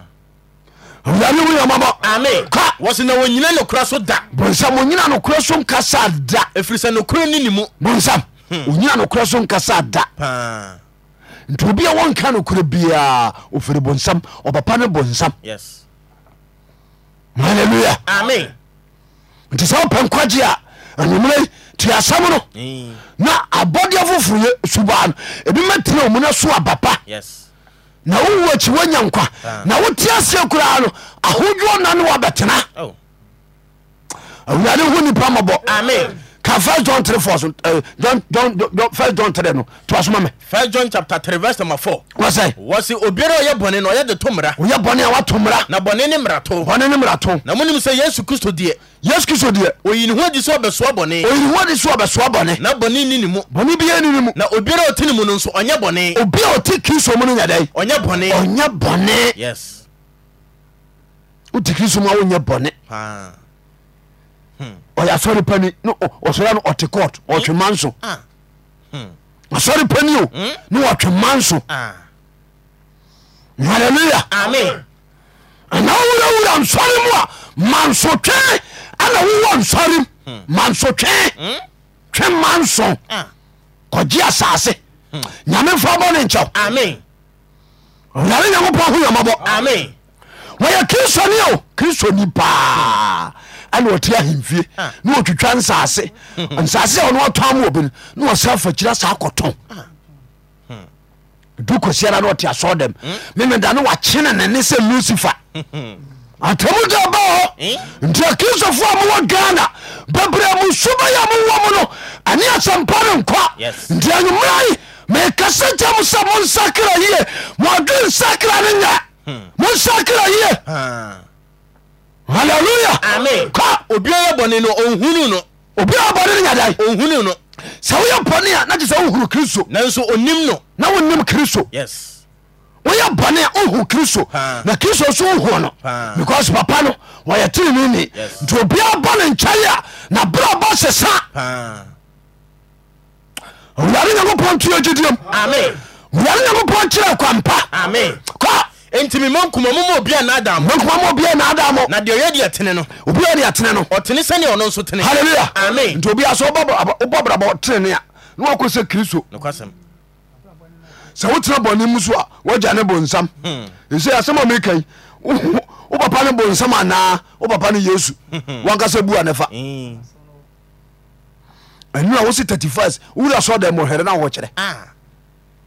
S1: awurade
S2: ame
S1: woyamabɔ ka
S2: wɔ se na wɔnyina nokora so da
S1: bonsam onyina nokorɛ so nkasa da
S2: ɛfiri sɛ nokora ni ne mu
S1: bonsam
S2: Hmm.
S1: onyina nokorɛ so nkasa da
S2: paa
S1: nti obi a wɔnka no korɛ biaa ofiri bonsam ɔpapa ne bonsam
S2: yes
S1: halleluya
S2: ame
S1: nti sɛ wopɛ nkwagye a anwummerɛ yi te asɛm no
S2: Hmm.
S1: na abɔdeɛ foforo yɛ subaa no ebi mɛtena omu no so aba pa
S2: yes
S1: na wowu akyi woanya
S2: Ah.
S1: nkwa na wote aseɛ koraa no ahodwoɔ na ne wabɛtena
S2: oh
S1: awurade ho nipa mmɔbɔ
S2: Amen.
S1: ka fis john 3 fo so fis john 3 no toa so ma me
S2: first john chapter 3 verse number 4
S1: wɔ sɛ
S2: wɔ se obiara a ɔyɛ bɔne no ɔyɛ de to mmara
S1: woyɛ bɔne a woato mmara
S2: na bɔne ne mmarato
S1: bɔne ne mmarato
S2: na monim sɛ yesu kristo deɛ
S1: yesu kristo deɛ
S2: oyi ne ho agyi sɛ ɔbɛsoa bɔne
S1: oyiriwɔde so ɔbɛsoa bɔne
S2: na bɔne ni ne mu
S1: bɔne biaa ni no mu
S2: na obiara a ɔte ne mu no nso ɔnyɛ bɔne
S1: obi a ɔte kristo mu no nya dɛn
S2: ɔnyɛ bɔne
S1: ɔnyɛ bɔne
S2: yes
S1: wote kristo mu a wonyɛ bɔne
S2: paa
S1: ɔyɛ asɔre pani ne ɔ- ɔsɔre no ɔte court ɔtwe ma nso
S2: Ah.
S1: asɔre pani o ne wɔtwe ma nso
S2: Ah.
S1: halleluya
S2: ame
S1: ana wowurawura nsɔre mu a mansotwe ana wowɔ nsɔre m mansotwe twe ma nso
S2: Ah.
S1: kɔgye asase nyame mfa bɔ ne nkyɛw
S2: amen
S1: ɔyare nyankopɔn ho yamabɔ
S2: amen
S1: wɔyɛ kristoni o kristoni paa ɛne wɔte ahemfie
S2: Ah.
S1: ne wɔtwitwa nsase nsase a ɔno atɔa ma obi no ne wɔsɛ fa kyira saa kɔtɔn du kɔsiara ne ɔte asɔ dɛm memeda ne wakyene ne ne sɛ lucifer atamu da ba hɔ
S2: Hmm.
S1: nti akristofoɔ a mowɔ ghana bɛbrɛ mu suba yɛ mowɔ mu no ɛne asɛmpa no nkwa
S2: Yes.
S1: nti anwumera yi mekasa kyɛ mo sɛ monsakra yie moadwe nsakra no
S2: Hmm.
S1: nyɛ monsakra yie
S2: Amen. Hmm.
S1: halleluya ka
S2: obiara yɛ bɔne no ɔnhunu no
S1: obi a bɔne no nyadae
S2: ɔnhunu no
S1: sɛ woyɛ bɔne a na kye sɛ wohuru kristo
S2: nanso onim no
S1: na wonim kristo
S2: yes
S1: woyɛ bɔne a wohu kristo
S2: Ah.
S1: na kristo nso wohu no
S2: Ah.
S1: because papa no wɔyɛ tenene ni
S2: Yes.
S1: nti obiaa bɔ ne nkyɛe a na berɛ bɔ sesa
S2: paa
S1: wurade nyankopɔn tuo gyidiem
S2: amen
S1: wurade nyankopɔn kyerɛ kwampa
S2: amen
S1: ka
S2: enti mema nkuma moma obi a naada mo
S1: mankoma ma obia naadaa mɔ
S2: na deɛ ɔyɛ deɛ tene no
S1: obia ne atene no
S2: ɔtene sɛnea ɔno nso tene
S1: halleluya
S2: Amen.
S1: nti obia sɛ wobɔ brabɔ tenene a na wakɔ sɛ kristo
S2: nokwasɛm
S1: sɛ wotena bɔne mu so a wagya ne bonsam
S2: Hmm.
S1: ɛsɛ asɛm a mekai wo papa ne bonsam anaa wo papa ne yesu
S2: Hmm.
S1: wankasa bua ne fa
S2: Mm.
S1: ɛnu a wosi thirty first wura sɔ dɛm ɔhɛrɛ náà wɔ kyerɛ
S2: Ah.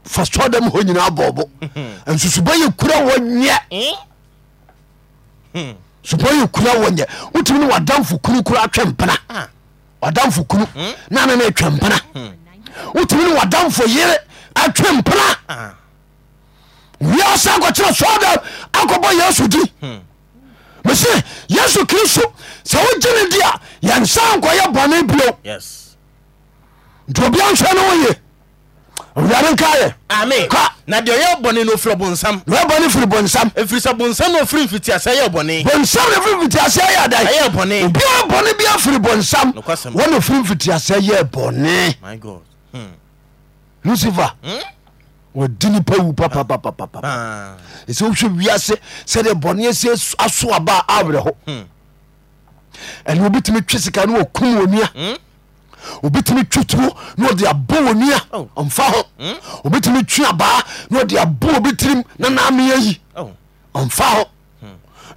S1: fa sɔ dɛm hɔ nyinaa bɔɔbɔ
S2: Hmm.
S1: nsusuba yɛ kura wɔ nyɛ
S2: Mm. Mm.
S1: suba yɛ kura wɔ nyɛ wotumi ni wadanfo kunu kura atwɛ mpana
S2: Ah. Hmm.
S1: wadanfo kunu naanị na atwɛ mpana wotumi ni wadanfo yere atwɛ mpana
S2: Ah.
S1: wia san kɔ kyerɛ sɔ dɛm akɔbɔ yesu di mesi yesu kristu sɛ wogye ne di a yɛn nsa nkɔyɛ bɔnne bio
S2: yes
S1: nti obi anhwɛ ne wo yie owurade nka yɛ
S2: amen
S1: Ka.
S2: na deɛ ɔyɛ bɔne no ofiri bonsam
S1: na ɛbɔ ne firi bɔnsam
S2: ɛfiri sɛ bonsam na ofiri mfitiasɛ yɛ bɔne
S1: bɔnsam ne firi mfitiaseɛ yɛ
S2: ɛyɛ
S1: ada
S2: bɔne
S1: obiara bɔne bia firi bɔnsam
S2: Nokwasɛm.
S1: wɔne firi mfitiaseɛ yɛ bɔne
S2: my god Hmm.
S1: lucifer
S2: Hmm?
S1: wɔdi nipa wu papapapapa
S2: Ah.
S1: ɛsɛ wohwɛ wiase sɛdeɛ bɔne asi aso aba a awerɛ ho ɛne wobɛtumi twe sika ne wɔkum wɔ nua obɛtumi twe tuo na ɔde abɔ wɔ nua
S2: Oh.
S1: ɔmfa ho obɛtumi twe abaa na ɔde abɔ obi tirim na naameyɛ yi
S2: Oh.
S1: ɔmfa hɔ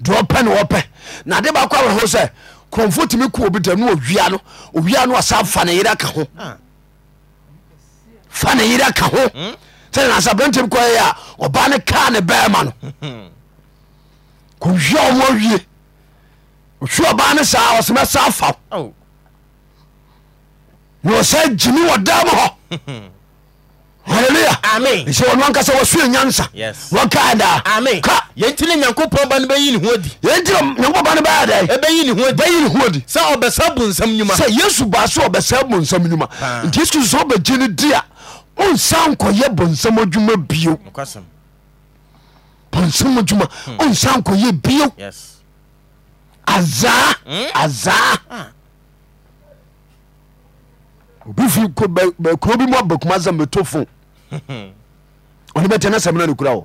S1: deɛ ɔpɛ ne wɔpɛ na ade baakɔ awerɛho sɛ kurɔmfoɔ tumi ku obi dam ne ɔwia no owia no asa fa ne yerɛ ka ho
S2: Ah.
S1: fa ne yerɛ ka ho sɛde nasa berɛntɛm kɔyɛ a ɔba ne kaa ne bɛɛma no kɔwia ɔmɔ wie ɔhwi ɔba ne saa ɔsemɛ sa faw
S2: Oh.
S1: na ɔsɛ gyimi wɔ dam hɔ halleluya
S2: amen
S1: ɛsɛ wɔno ankasa wɔsua
S2: Yes.
S1: nyansa wɔkaa daa
S2: amen
S1: ka
S2: yɛnti ne nyankopɔn ba no bɛyi ne ho adi
S1: yɛnti nyankopɔn ba ne bɛyɛ dɛ
S2: ɛbɛyi ne ho adi
S1: bɛyi ne ho adi
S2: sɛ ɔbɛsa bonsam nnwuma
S1: sɛ yesu baa so ɔbɛsɛ bonsam nwuma
S2: Ah.
S1: nti yesu sɛ wobɛgye no di a onsa nkɔyɛ bonsam adwuma bio
S2: nokwasɛm
S1: bonsam adwuma onsa nkɔyɛ bio
S2: yes
S1: azaa
S2: Hmm?
S1: azaa
S2: Ah.
S1: obi firi ko- ba- ba- kuro bi mu abakuma sɛ meto fo ɔne bɛtɛ na sɛmena ne kura wɔ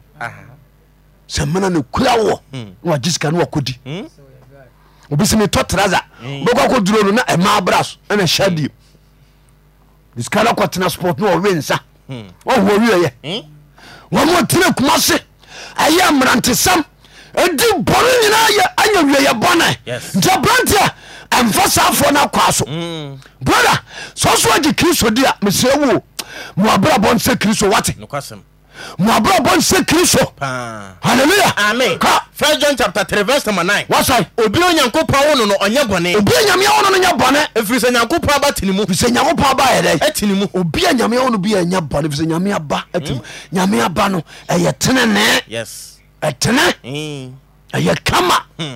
S1: sɛmena ne kura wɔ
S2: Hmm.
S1: na wagye sika ne wakɔdi
S3: So we are glad.
S1: obi sɛ metɔ trasa
S2: Hmm.
S1: bɛkɔ akɔduro no na ɛma bra so ɛna hyɛ die Ne sika no akɔtena sport na ɔwe nsa
S2: Hmm.
S1: ɔhoɔ wieyɛ wɔma tire kuma se ɛyɛ mmerantesɛm ɛdi bɔne nyinaa yɛ anya wieyɛ bɔne
S2: Yes.
S1: nti aberanteɛ ɛmfa saafoɔ no akɔa so
S2: Mm.
S1: brother sɛ so agye kristo di a mesrɛ wo moabrabɔ nsɛ kristo wate
S2: nokwasɛm
S1: moabrabɔ nsɛ kristo
S2: paa
S1: halleluya
S2: amen
S1: ka
S2: first john chapter 3 verse number 9
S1: wasae
S2: obi a onyankopɔn wo no no ɔnyɛ bɔne
S1: obia nyame wo no no nyɛ bɔne
S2: ɛfiri sɛ nyankopɔn aba tene mu
S1: fisɛ nyankopɔn aba yɛ dɛ
S2: ɛtene mu
S1: obia nyame wo no bia ɛnya bɔne fisɛ nyame aba atim nyame aba no ɛyɛ tenene
S2: Mm. yes
S1: ɛtene
S2: Mm.
S1: ɛyɛ kama
S2: Hmm.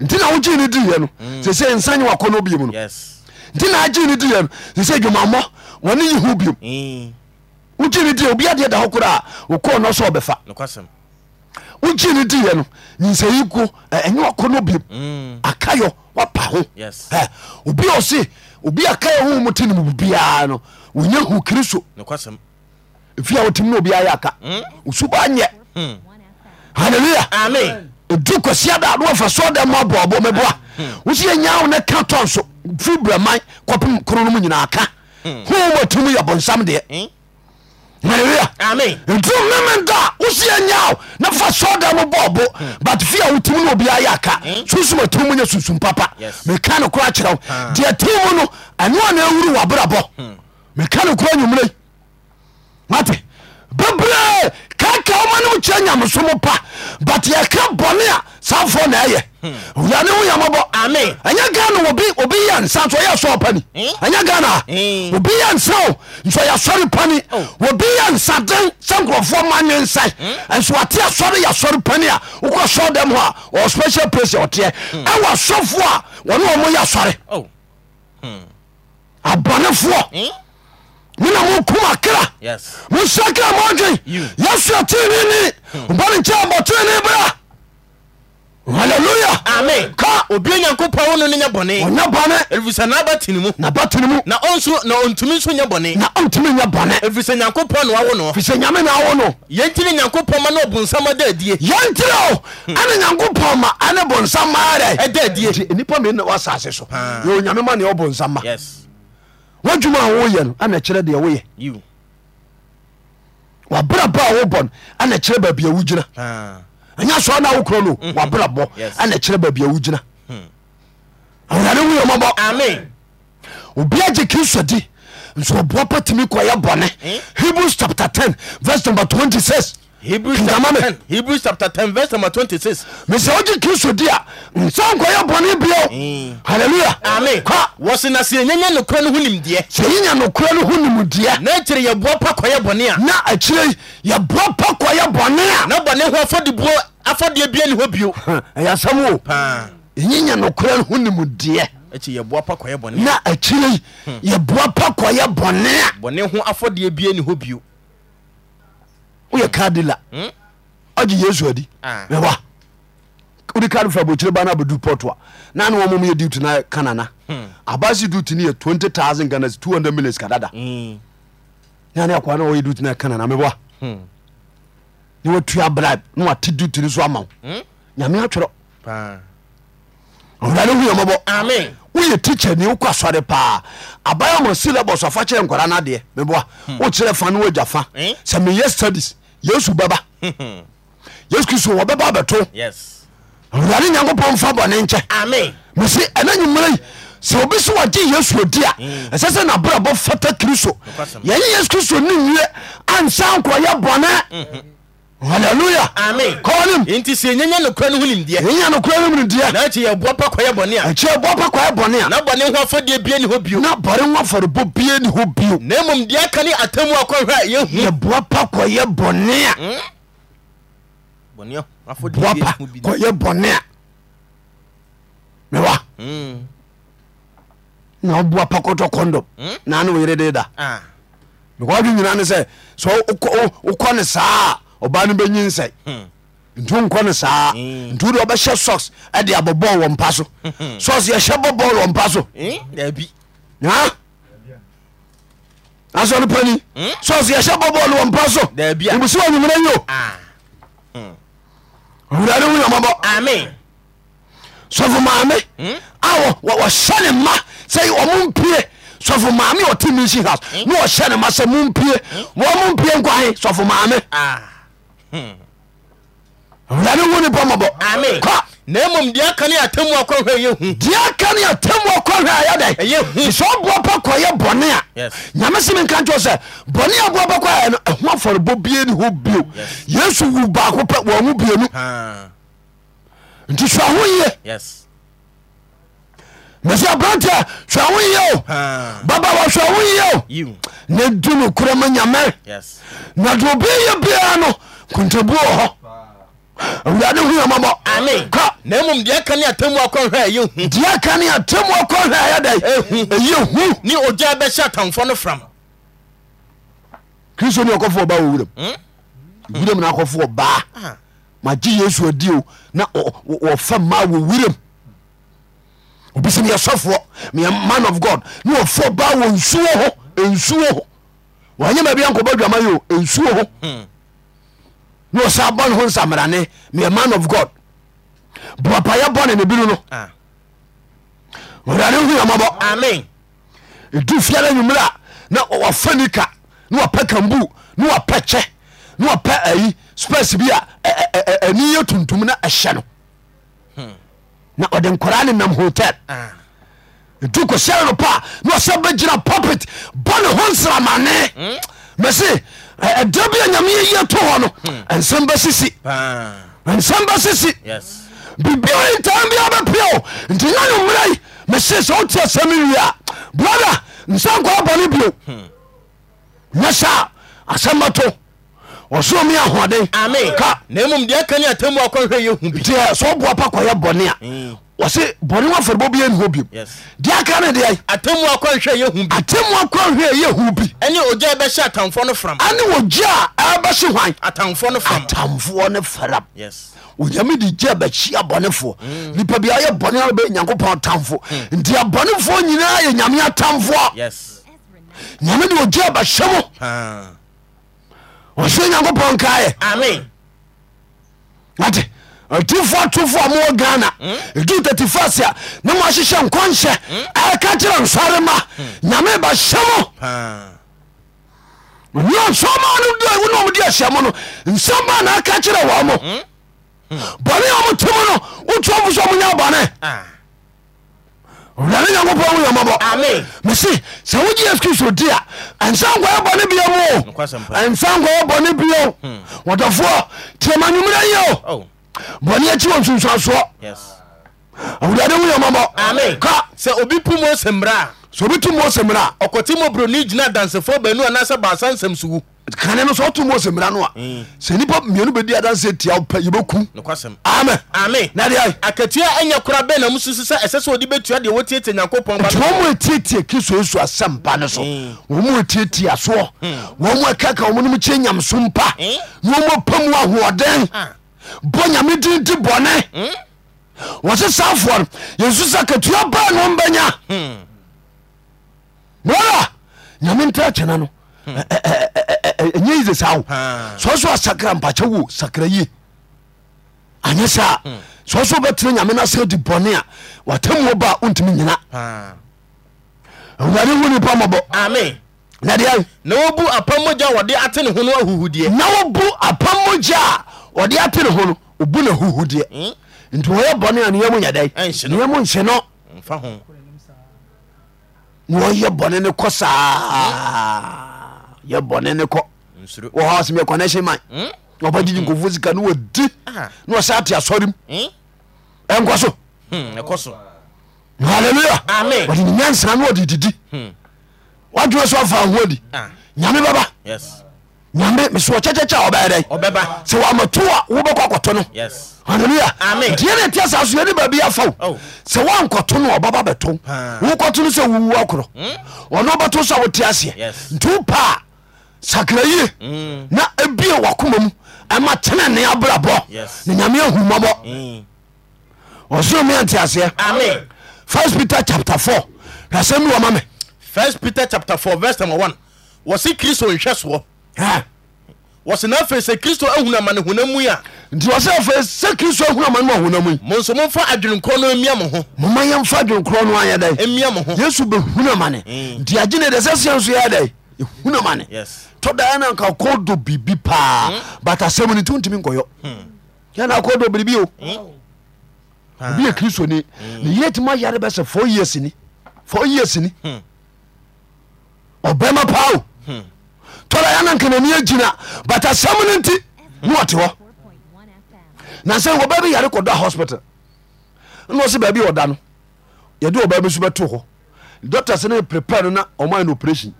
S1: nti na wogye ne diiɛ no
S2: Mm.
S1: sɛsɛ nsa nye wakɔ no biom no
S2: yes
S1: nti na agye ne diiɛ no sɛsɛ dwumammɔ wɔne yi ho biom
S2: Mm.
S1: wogye ne diiɛ obiadeɛ da hɔ koraa wokɔɔ no sɛ ɔbɛfa
S2: nokwasɛm
S1: wogye ne diiɛ no nyinsɛyi ko ɛ, ɛnyɛ wakɔ no biom
S2: Mm.
S1: akayɔ wapa ho
S2: Yes.
S1: Ɛ, obi a ɔse obi akayɔ ho mu te ne mu biara no wonya hu kristo
S2: nokwasɛm
S1: ɛfie a wotimi ne obiaa yɛ aka
S2: Mm.
S1: wosuba nyɛ halleluya
S2: amen
S1: ɛdu kɔsia da no wafa sɛ dɛ ma bɔɔbɔ mɛboa wosi yɛnya wo ne ka tɔn so firi braman kɔpem koro no mu nyinaa ka howatum yɛ bonsam
S2: Hmm.
S1: deɛ hallelujah
S2: Mm. Amen.
S1: nti mímí da o si yẹ nya o na fa sọdọ mu bọ ọbọ but fi àwọn tí mu ní obi ayé aka sunsun tí mu yẹ sunsun papa
S2: Yes.
S1: mẹka ni kura kyerɛ o diẹ tí mu no ẹni wọn náà wúri wà abúlé bọ mẹka ni kura nyimire mati bebree kaka ọmọ ni mo kyerɛ nyamusomo pa but yẹ ká bọni a sanfọ náà yẹ wúlọ́ni wúyà mọ bọ
S2: Amen.
S1: ẹ̀yẹ gánà obi obi yẹ nsa so yẹ sọ ọ̀pẹ ni
S2: Hmm?
S1: ɛnyɛ ghana
S2: Mm.
S1: obi yɛ nsa o nso yɛ asɔre pani
S2: Oh. Hmm?
S1: obi yɛ nsaden sɛ nkurɔfoɔ ma ne nsa nso ate asɔre yɛ asɔre pani a wokɔ sɔre dɛm hɔ a ɔwɔ special place a ɔteɛ
S2: Hmm.
S1: ɛwɔ asɔfoɔ a wɔne wɔn yɛ asɔre
S2: Oh,
S1: abɔnefoɔ
S2: hmm?
S1: ne na mokum akra
S2: Yes.
S1: monsa kra mɔdwen
S2: You. Hmm.
S1: yɛsu atenene bɔne nkyɛ bɔtene bra halleluya
S2: Amen.
S1: ka
S2: obi onyankopɔn no no nyɛ bɔne
S1: ɔnyɛ bɔne
S2: ɛfiri sɛ n'abate ne mu
S1: na batene mu
S2: na ɔnso na ɔntumi nso nyɛ bɔne
S1: na ɔntumi nyɛ bɔne
S2: ɛfiri sɛ nyankopɔn na wawo no
S1: fi sɛ nyame na awo no
S2: yɛnti ne nyankopɔn ma na ɔbonsam ada adie
S1: yɛntirɛ o ɛne nyankopɔn ma ɛne bonsam ma dɛ
S2: Hmm. ɛda adie
S1: nti nipa mmienu na wasase so
S2: Paa.
S1: yɛwɔ nyame ma neɛ ɔbonsam ma
S2: yes
S1: wadwuma a woyɛ no ana kyerɛ deɛ woyɛ
S2: you
S1: wabrabɔ a wobɔ no ana kyerɛ baabi a wogyina
S2: Ah.
S1: ɛnyɛ soa no a wokuro no wabrabɔ
S2: Hmm. Yes. Hmm.
S1: ana kyerɛ baabi a wogyina awurade wuyɛ mɔbɔ
S2: amen
S1: obia gye kristo di nso ɔboa pa tumi kɔyɛ bɔne
S2: Hmm?
S1: hebrews chapter 10 verse number 26
S2: hebrews
S1: Kinga
S2: chapter
S1: mame.
S2: 10 hebrews chapter 10 verse number 26
S1: mesɛ wogye kristo di a nsa nkɔyɛ bɔne bio
S2: Hmm.
S1: halleluya
S2: amen
S1: ka
S2: wɔse na sɛ yɛnyanya nokorɛ no ho nimdeɛ
S1: sɛ yenya nokora no ho nimdeɛ
S2: na akyiri yɛboa pa kɔyɛ bɔne a
S1: na akyire yi, yɛboa pa kɔyɛ bɔne
S2: na bɔne ho afɔdebuo afɔdeɛ bia ne hɔ bio
S1: a ɛyɛ asɛm o
S2: paa
S1: ɛnyenya nokora no ho nimdeɛ
S2: akyi yɛboa pa kɔyɛ bɔne
S1: na akyire
S2: Hmm.
S1: yi, yɛboa pa kɔyɛ bɔne a
S2: bɔne ho afɔdeɛ bia ne hɔ bio
S1: woyɛ kadila
S2: Hmm?
S1: ɔgye yesu adi
S2: Ah.
S1: mɛwa wode kade fra bokyire ba no abɛdu pɔto a na ne wɔmom yɛ dut na kanana
S2: Hmm.
S1: abase dut no yɛ 20000 ganas 200 millions kadada
S2: Mm.
S1: yane akoa na wɔyɛ dut na kanana mɛwa
S2: Hmm.
S1: ne watua bribe na wate dut no so ama wo
S2: Hmm?
S1: nyame atwerɛ
S2: paa
S1: ɔwurade hu yɛmɔbɔ
S2: amen
S1: woyɛ tikya ni wokɔ asɔre paa abaya ma syllabus afa kyerɛ nkɔra no adeɛ meboa wokyerɛ fa no woagya fa
S2: Hmm. Eh?
S1: sɛ meyɛ studies yesu bɛba yesu kristo wɔbɛba bɛto
S2: yes
S1: awurade nyankopɔn mfa bɔne nkyɛ
S2: amen
S1: mese ɛna nwummera yi sɛ obi so wagye yesu odi a ɛsɛ sɛ nabrabɔ fata kristo
S2: Hmm. Nokwasɛm.
S1: yɛnye yesu kristo ne nwie ansa nkorɔyɛ
S2: Mhm.
S1: bɔne
S2: Amen.
S1: halleluya kɔnem
S2: enti sɛ yɛnyanya nokorɛ no ho nimdeɛ
S1: ɛnya nokora no mu nedeɛ
S2: na akyiri yɛboa pa kɔyɛ bɔne a
S1: ɛkyerɛ bɔ pa kwaɛ bɔne a
S2: na bɔne ho afɔdeɛ bia ne hɔ bio
S1: na bɔre ho afɔrebɔ bie ne hɔ bio
S2: na mmom deɛ aka ne atamu akɔhwɛ a yɛhu
S1: yɛboa pa kɔyɛ bɔne a
S2: bɔne ho afɔdeɛ
S1: boa
S2: bia ne
S1: pa
S2: ho bi.
S1: kɔyɛ bɔne a mewa
S2: Mm.
S1: na woboa pa kɔtɔ kɔndom na ne woyere de da
S2: Ah.
S1: because wode nyina ne sɛ sɛ wokɔ- wo- wokɔ ne saa a ɔba no bɛnyi nsɛ nti wonkɔ ne saa
S2: Mm.
S1: nti wode ɔbɛhyɛ sox ɛde abɔbɔl wɔ mpa so sox yɛhyɛ bɔbɔl wɔ mpa so
S2: Eh, daabi
S1: ha asɔ no pani
S2: Mm.
S1: sox yɛhyɛ bɔbɔl wɔ mpa so
S2: Dabi a.
S1: mbusi wɔ nwumera yi o Hmm.
S2: Ah.
S1: awurade wo nyamabɔ
S2: amen
S1: sɔfo maame
S2: Mm.
S1: a wɔ- wɔ- wɔhyɛ ne ma sɛ ɔmo mpie sɔfo maame a ɔte mission house
S2: Hmm?
S1: ne ɔhyɛ ne ma sɛ mompie wɔmo mpie nkwae sɔfo maame
S2: Ah.
S1: awurade wo ne bɔmɔbɔ
S2: Amen.
S1: kɔ
S2: na mmom deɛ aka ne atamu akɔhwɛ a yɛhu
S1: deɛ ka ne atamu ɔkɔhwɛ ayɛ
S2: Ɛyɛ
S1: dɛn
S2: hu.
S1: sɛ ɔboa pa kɔyɛ bɔne a
S2: Yes.
S1: nyame se menka nkyɛw sɛ bɔne a boa pa kɔyɛ no ɛho afɔrebɔ bie ne hɔ bio yesu wu baako pɛ wɔ mu bienu
S2: Ah.
S1: nti hwɛ ho yie
S2: yes
S1: mɛsɛ aberanteɛ hwɛ ho yie o
S2: Ah.
S1: baba wɔ hwɛ ho yie o
S2: you
S1: na du no korɛ ma nyame
S2: yes
S1: na de obi yɛ biara no kontabuo wɔ hɔ awurade hu
S2: amen
S1: yamabɔ ka
S2: na mmom deɛ aka ne atamu akɔhwɛ a yɛhu
S1: deɛ ka ne atamu ɔkɔhwɛ ayɛ
S2: Ɛhu.
S1: dɛn ɛyɛ hu
S2: ne ogya bɛhyɛ atamfoɔ no fram
S1: kristo ne ɔkɔfoɔ ba wɔ wuram
S2: Hmm?
S1: wuram na akɔfoɔ baa
S2: Ah.
S1: magye yesu adi o na ɔ- ɔ- wɔfa ma wɔ wuram obi sɛ meyɛ sɔfoɔ meyɛ man of god ne wɔfoɔ baa wɔ nsuo ho nsuo ho wɔanyɛ baabi ankɔbɔ adwama yi o nsuo ho
S2: Hmm.
S1: ne ɔsa bɔ ne ho nsamrane meyɛ man of god boapayɛ bɔne ne bino no
S2: Ah.
S1: ɔdane hu yamabɔ
S2: amen
S1: ɛdu fiara nwummerɛ na wafa nika na wapɛ kambu na wapɛ kyɛ na wapɛ ayi space bi a ɛ- ɛ- ɛ- ani yɛ tuntum na ɛhyɛ no na ɔde nkɔraa ne nam hotel nti kɔsiɛre no pa a na ɔsɛ bɛgyina popit bɔ ne ho nsramane mɛse ɛda bi a nyame yɛyɛ to hɔ no ɛnsɛm bɛsisi
S2: paa
S1: ɛnsɛm bɛsisi
S2: Ah. yes
S1: bibia ntam bia bɛpiao nti nyane mmerai mese sɛ wote asɛm wie a brother nsa nkɔa bɔne bio nyɛ saa asɛm bɛto ɔsoro me
S2: ame
S1: ahoɔden ka
S2: na mmom deɛ ka ne atamu akɔhwɛ yɛ hu bi
S1: nti e, ɛ, sɛ woboa pa kɔyɛ bɔne
S2: Mm.
S1: a wɔse bɔne wafɔrebɔ bia nuhɔ bio
S2: Yes.
S1: deɛ aka ne deɛ
S2: atamu akɔhwɛ yɛ hu bi
S1: atemmu akɔ hwɛ yɛ hu bi
S2: ɛne ogya bɛhyɛ atamfoɔ no fram
S1: ane wɔgye a ɛbɛhye hwan
S2: atamfoɔ no fram
S1: atamfoɔ ne faram
S2: yes
S1: onyame de gye bɛkyia bɔnefoɔ nipa bia yɛ bɔne ara bɛyɛ nyankopɔn atamfo nti abɔnefoɔ nyinaa yɛ nyame atamfoɔ
S2: yes
S1: nyame de ogye bɛhyɛ mo
S2: paa
S1: ɔhyɛ nyankopɔn kaɛ
S2: ame
S1: ate atifoɔ tofoɔ a mowɔ ghana ɛdu 31 a na moahyehyɛ nkɔnhyɛ ɛka kyerɛ nsɔre ma nyame bɛhyɛ mo
S2: paa
S1: ne ɔsɔma no dɛ wone ɔmde ahyɛ mo no nsɛm ba na aka kyerɛ wɔ mo bɔne a ɔmote mo no wotuafo sɛ monyɛ bɔne
S2: Ah.
S1: ɔdane nyankopɔn woyɛmɔbɔ
S2: Amen.
S1: mese sɛ wogye yesu kristo di a ɛnsa nkɔyɛ bɔne bia mu
S2: Nokwasɛm pa.
S1: ɛnsa nkɔyɛ bɔne bio
S2: Hmm.
S1: wɔdɔfoɔ tiama nwumerɛ yɛ o
S2: oh
S1: bɔne akyi wɔ nsunsuasoɔ
S2: yes
S1: awurade woyɛmɔbɔ
S2: Amen.
S1: ka
S2: sɛ obi pu mose mmra
S1: sɛ obi to mose mmara a
S2: ɔkɔte mɔbroni gyina dansefoɔ baanu anaasɛ baasa nsɛm so wu
S1: kane no sɛ woto mose mmara no a
S2: Mm.
S1: sɛ nnipa mmienu bɛdi adanse tia wo pɛ yɛbɛkum
S2: nokwasɛm
S1: amen
S2: ame
S1: na deɛ
S2: akatua ɛnyɛ kora bɛ na mususu sɛ ɛsɛ sɛ ɔde bɛtua deɛ wɔtietie nyankopɔn ba
S1: nti
S2: no
S1: wɔn mu etietie kristo yesu asɛmpa ne so
S2: Mm.
S1: wɔn mu etietie asoɔ
S2: Hmm.
S1: wɔn mu ɛkeka wɔn mu kye nyamso mpa
S2: Mm.
S1: na wɔn mu apam ahoɔden
S2: Ah.
S1: bɔ nyame din di
S2: Hmm?
S1: bɔne wɔsi saafoɔ no yesu sɛ ketewa baa na wɔn bɛnya
S2: Hmm.
S1: wɔla nyame ntɛ kyɛnɛ no
S2: Hmm.
S1: ɛ- ɛ- ɛ- ɛ- ɛ- ɛ- ɛnyɛ yi de saa o
S2: Ah.
S1: sɔsɔ asakra mpakyɛ wo sakra yie anyɛ saa
S2: Hmm.
S1: sɔsɔ bɛtena nyame no asɛ di bɔne a watamuo ba a wontumi nyina
S2: Paa.
S1: awurade hu nipa mɔbɔ
S2: ame
S1: na deɛ
S2: na wɔbu apammɔgya a wɔde ate ne ho no ahuhudeɛ
S1: na wobu apammogya a ɔde ate ne ho no obu na huhudeɛ
S2: Mm.
S1: nti wɔyɛ bɔne a neyɛmu nyɛ dɛn
S2: Ɛnhye no.
S1: neyɛmu nhye no
S2: mfa ho
S1: na wɔyɛ bɔne ne kɔ saa yɛ bɔne ne kɔ
S2: nsuro
S1: wɔhɔ sɛ miɛ connection man
S2: Mm.
S1: ɔbɛgyegye nkɔfo sika ne wadi
S2: Aha.
S1: na ɔsɛ ate asɔrem
S2: Hmm?
S1: ɛnkɔ so
S2: Hmm, ɛkɔ so
S1: halleluya
S2: Amen.
S1: wɔde ne nyansa na wɔde didi
S2: Hmm.
S1: wadwene sɛ ɔfa ho adi
S2: Ah,
S1: nyame bɛba
S2: yes
S1: nyame mesɛ ɔkyɛkyɛkyɛ a ɔbɛyɛ dɛn
S2: ɔbɛba
S1: sɛ wɔamato a wobɛkɔ akɔtɔ no
S2: yes
S1: hallelujah
S2: Amen.
S1: nti yɛne ɛte saa so yɛne baabi afa wo
S2: Oh.
S1: sɛ woankɔto no ɔbaba bɛto
S2: Paa.
S1: wokɔto no sɛ wowu akorɔ ɔno ɔbɛto sɛ wote aseɛ
S2: Hmm? Yes.
S1: nti wo paa sakra yie
S2: Mm.
S1: na ɛbie wakoma mu ɛma tene ne abrabɔ
S2: Yes.
S1: ne nyame ahumabɔ
S2: Hmm.
S1: ɔsoro me ante aseɛ
S2: Amen.
S1: first peter chapter 4 hwɛsɛm bi wɔma me
S2: first peter chapter 4 verse number 1 wɔse kristo nhwɛ soɔ
S1: Ɛh.
S2: wɔse na afei sɛ kristo ahunu amanehonam mu yi a
S1: nti wɔ sɛ afei sɛ kristo ahunu ama no ma honam yi
S2: mo nso momfa adwenenkorɔ no mmia mo ho
S1: moma yɛmfa dwenkorɔ no ayɛ dɛn
S2: mmia mo ho
S1: yesu bɛhunu ama ne
S2: Mm.
S1: nti agye ne dɛ sɛ siɛ nso yɛ dɛn ɛhunu ama ne
S2: yes
S1: tɔdaa na nka kɔdɔ biribi paa but asɛm no nti wontumi nkɔyɔ yɛna kɔdɔ biribi o obi yɛ kristoni ne yere tumi ayare bɛsɛ fo years ni fo years ni
S2: Hmm.
S1: ɔbɛma paa o tɔdaa na nka nani agyina but asɛm no nti ne wɔte hɔ na sɛ wɔbaa bi yare kɔdɔ hospital na ɔsɛ baabi a ɔda no yɛde ɔbaa bi so bɛto hɔ doctors no prepare no na ɔma no operation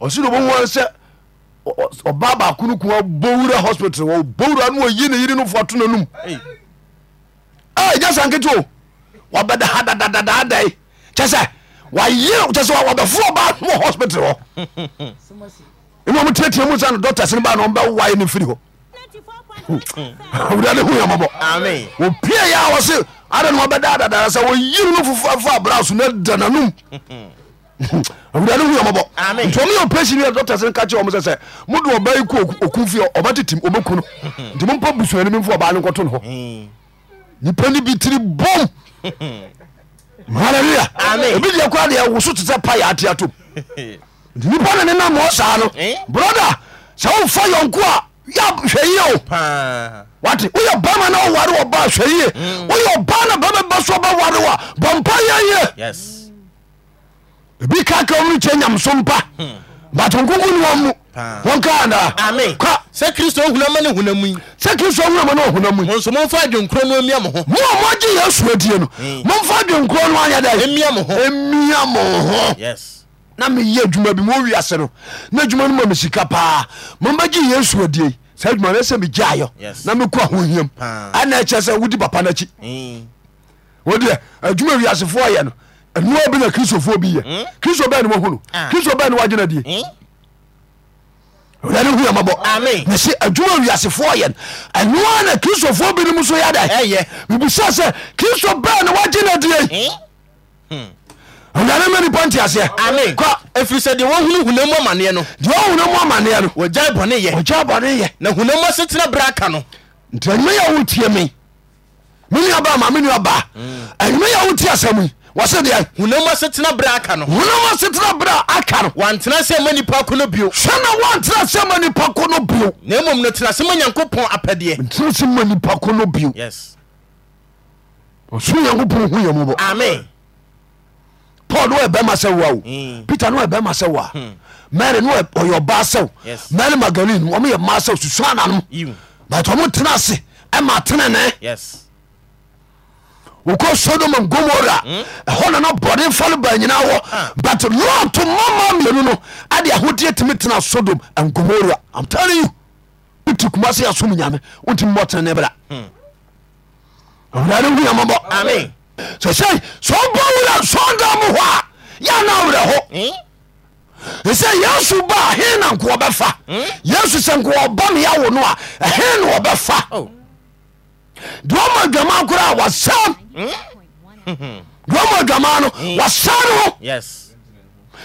S1: ɔsi na ɔbɛhu ara sɛ ɔ- ɔ- ɔbaa baako no kua bowura hospital wɔ bowura no ɔyi ne yiri no fo to n'anum
S2: Ei.
S1: a ɛnya sa nkete o wabɛda ha dadadadaadae kyɛ sɛ waye kyɛ sɛ wabɛfo ɔbaa no wɔ hospital hɔ ɛna ɔmo teatea mu sa no doctors no baa na ɔmbɛwae no firi hɔ awurade hu yɛmɔbɔ
S2: amen
S1: opie yɛ a wɔse ada ne wabɛda dadada sɛ wɔyiri no fofafo abra so na da nanum awurade hu yɛmɔbɔ
S2: Amen.
S1: nti ɔmo yɛ operation yɛ doctors no ka kyerɛ ɔmo sɛ sɛ mode ɔba yi kɔ oku fie ɔbɛtetim ɔbɛku no nti mompa busuani bi mfo ɔbaa no nkɔto no hɔ
S2: Hmm.
S1: nipa ni bi tiri bom hallelujah
S2: Amen.
S1: ebi deɛ kora deɛ woso te sɛ pa yɛ atea tom nipa ne ne nam wɔ saa no
S2: Eh?
S1: broda sɛ womfa yɔnko a yɛ hwɛ yie o
S2: paa
S1: wate woyɛ bama na woware wɔ ba hwɛ
S2: Mm.
S1: yie woyɛ ɔba na bɛbɛ bɛ so bɛware wo a bɔmpa yɛ yie
S2: yes
S1: ebi ka ka ɔmu no kyɛ nyamso
S2: Hmm.
S1: mpa but nkonko ne wɔ mu
S2: Paa.
S1: wɔnka
S2: ame
S1: anaa ka
S2: sɛ kristo ohunama ne honam yi
S1: sɛ kristo wurama ne ɔhonam yi
S2: mo nso momfa adwenkuro no amia mo ho
S1: mo a moagye yesu adie no
S2: Mm.
S1: momfa adwenkuro no anyɛ dɛ
S2: amia mo ho
S1: ɛmia mo ho
S2: yes
S1: na meyɛ adwuma bi mowiase no na adwuma no ma mesika paa mambɛgye yesu adie saa adwuma no sɛ megyayɔ
S2: Yes.
S1: na mekɔ ahohiam
S2: Paa.
S1: ana ɛkyɛ sɛ wodi papa no akyi
S2: Mm.
S1: wodeɛ adwuma wiasefoɔ yɛ no ɛnoa bi na kristofoɔ bi yɛ kristo bɛɛ ne wahu no
S2: Hmm? Ah.
S1: kristo bɛɛ ne wagyena die
S2: Mm.
S1: ɔdane hu
S2: Amen.
S1: amabɔ mese adwuma wiasefoɔ yɛ no ɛnoa na kristofoɔ binom so yɛda
S2: Ɛyɛ.
S1: mebisa sɛ kristo bɛɛ ne wagyena die
S2: Mm.
S1: ɔdane ma nipa
S2: ame
S1: nteaseɛ Kɔ.
S2: ɛfiri sɛ deɛ wɔhunu honam amaneɛ no
S1: deɛ ɔhuna mu amanneɛ no
S2: wɔgyae bɔne yɛ
S1: ɔgya bɔne yɛ
S2: na honam asetena berɛ aka no
S1: nti anwuma yɛ wo tie me me nuaba ma me nuaba
S2: Hmm.
S1: anwuma yɛ wo tie asɛm yi wɔse deɛ
S2: honam asetena berɛ aka no
S1: honam asetena berɛ a aka no
S2: wantena sɛ ma nipa ko no bio
S1: hwɛ na woantena sɛ ma nipa ko no bio
S2: na mmom no tena sɛ ma nyankopɔn apɛdeɛ
S1: ntena sɛ ma nipa ko no bio
S2: yes
S1: ɔsoro nyankopɔn hu yɛ mubɔ
S2: ame
S1: paul ne wɔɛbɛma sɛ wo a o
S2: Mm.
S1: peter ne wɔɛbɛma sɛ wo a mary ne wɔyɛ- ɔyɛ ɔba sɛw
S2: Hmm. Yes.
S1: mary magdalene ɔmo yɛ ma sɛw susua
S2: You.
S1: nanom but ɔmo tena ase ɛma tenene
S2: Hmm. yes
S1: wokɔ sodom and
S2: Hmm.
S1: gomora ɛhɔ na na bɔne fa no ba nyinaa
S2: Ah.
S1: wɔ but lot mama mmienu no ade ahodeɛ tumi tena sodom and gomora i'm telling you wotu kuma sɛ yɛsom nyame wontumi mmɔ tene ne bra awurade hu yamabɔ
S2: Hmm. Amen.
S1: sɛ sɛ sɛ ɔbɔ wura sɔnda mo hɔ a yɛna werɛ ho
S2: Mm.
S1: ɛsɛ yesu ba a he na nko ɔbɛfa
S2: Hmm?
S1: yesu sɛ nko ɔba me yɛwo no a ɛhe na ɔbɛfa
S2: Oh.
S1: deɛ ɔma adwama koraa wasɛm duɔma adwamaa no
S2: Hmm.
S1: wasare ho
S2: yes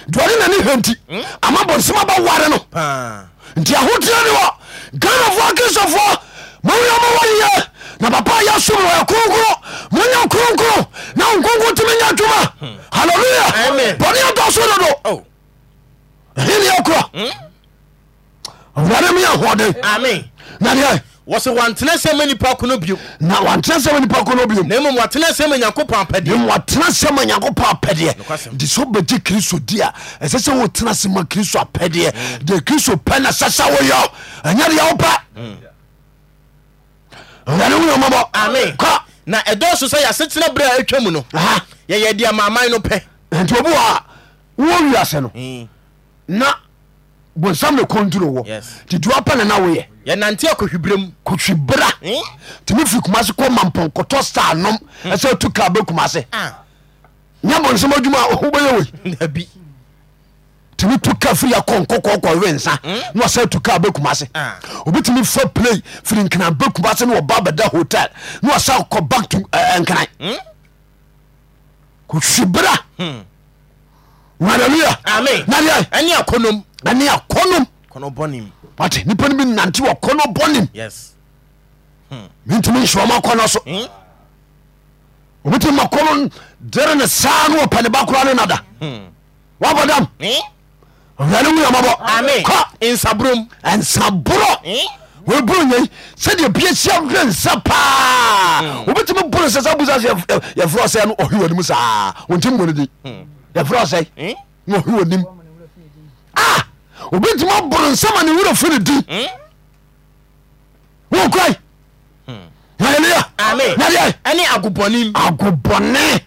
S1: duɔne nane henti
S2: Hmm?
S1: ama bonsɛm abɛware no
S2: paa
S1: nti ahoteɛ ne wɔ ghanafoɔ kristofoɔ mawia mawɔyɛ na papa yɛ som no ɔyɛ kronkro monya kronkro na nkonkro tumi nya adwuma halleluya
S2: Hmm. Amen.
S1: bɔne atɔ so dodo
S2: oh
S1: ɛhene yɛ
S2: Hmm?
S1: korɔ awurade meyɛ hoɔden
S2: ame
S1: na deɛ
S2: wɔ sɛ wantena sɛ ma nipa ko no bio
S1: na wantena sɛ ma nipa ko no biom
S2: na mmom watena sɛ ma nyankopɔn apɛdeɛ
S1: mwatena sɛ ma nyankopɔn apɛdeɛ
S2: Nokwasɛm.
S1: nti sɛ wobɛgye kristo di a ɛsɛ sɛ wotena se ma kristo apɛdeɛ
S2: Hmm.
S1: deɛ kristo pɛ na sasa woyɛ ɛnyɛ de yɛwo pɛ
S2: Hmm.
S1: ɔwurade woyɛ
S2: Amen.
S1: mɔbɔ kɔ
S2: na ɛdɔɔso sɛ yɛasetena berɛ a atwa mu no
S1: Aha. E
S2: yɛyɛ deɛ maaman no pɛ
S1: nti obi wɔ a wowɔ wiase
S2: Hmm.
S1: no na bonsam ne konturo wɔ
S2: Yes.
S1: nti dua pɛ ne na woyɛ
S2: yɛnante akɔhwibirɛ mu
S1: kotwi bra
S2: Mm.
S1: tumi firi kuma se kɔ mampɔn kɔtɔ star nom ɛsɛ tu ka bɛ kuma se
S2: Ah,
S1: nyɛ bonsam adwuma a wobɛyɛ wei
S2: dabi
S1: tumi tu ka firi akɔ nkɔkɔkɔ we nsa na wasɛ tu ka bɛkum ase
S2: Ah.
S1: obitumi fa play firi nkena bɛkum ase na wɔba bɛda hotel na wasa kɔ back to eh, eh, nkran kohwi bra
S2: Amen.
S1: hallelujah na deɛ
S2: ɛne akɔnom
S1: ɛne akɔnom
S2: kɔnɔbɔnem
S1: wate nipa no bi nante wɔ kɔnɔ bɔnem
S2: yes
S1: mentumi nhyɛɔma kɔnɔ so
S2: Mm.
S1: obitumi ma kɔno dere ne saa na wɔpɛ ne ba kora no nada wabɔ dam
S2: Eh?
S1: ɔwurade
S2: ame
S1: wuyamabɔ kɔ
S2: nsaborom
S1: ɛnsaborɔ
S2: Eh?
S1: weboro yei sɛdeɛ bia sia werɛ nsa paa wobɛtumi boro sɛ sa busa sɛ yɛfrɛ sɛ no ɔhe wanim saa wontim bɔne di yɛfrɛ sɛ
S2: Eh?
S1: na ɔhe wanim a obɛtumi aboro nsa ma ne werɛ fi ne di
S2: Mm.
S1: wokrai haleluya
S2: Amen.
S1: nadeɛ
S2: ɛne agobɔnem
S1: agobɔne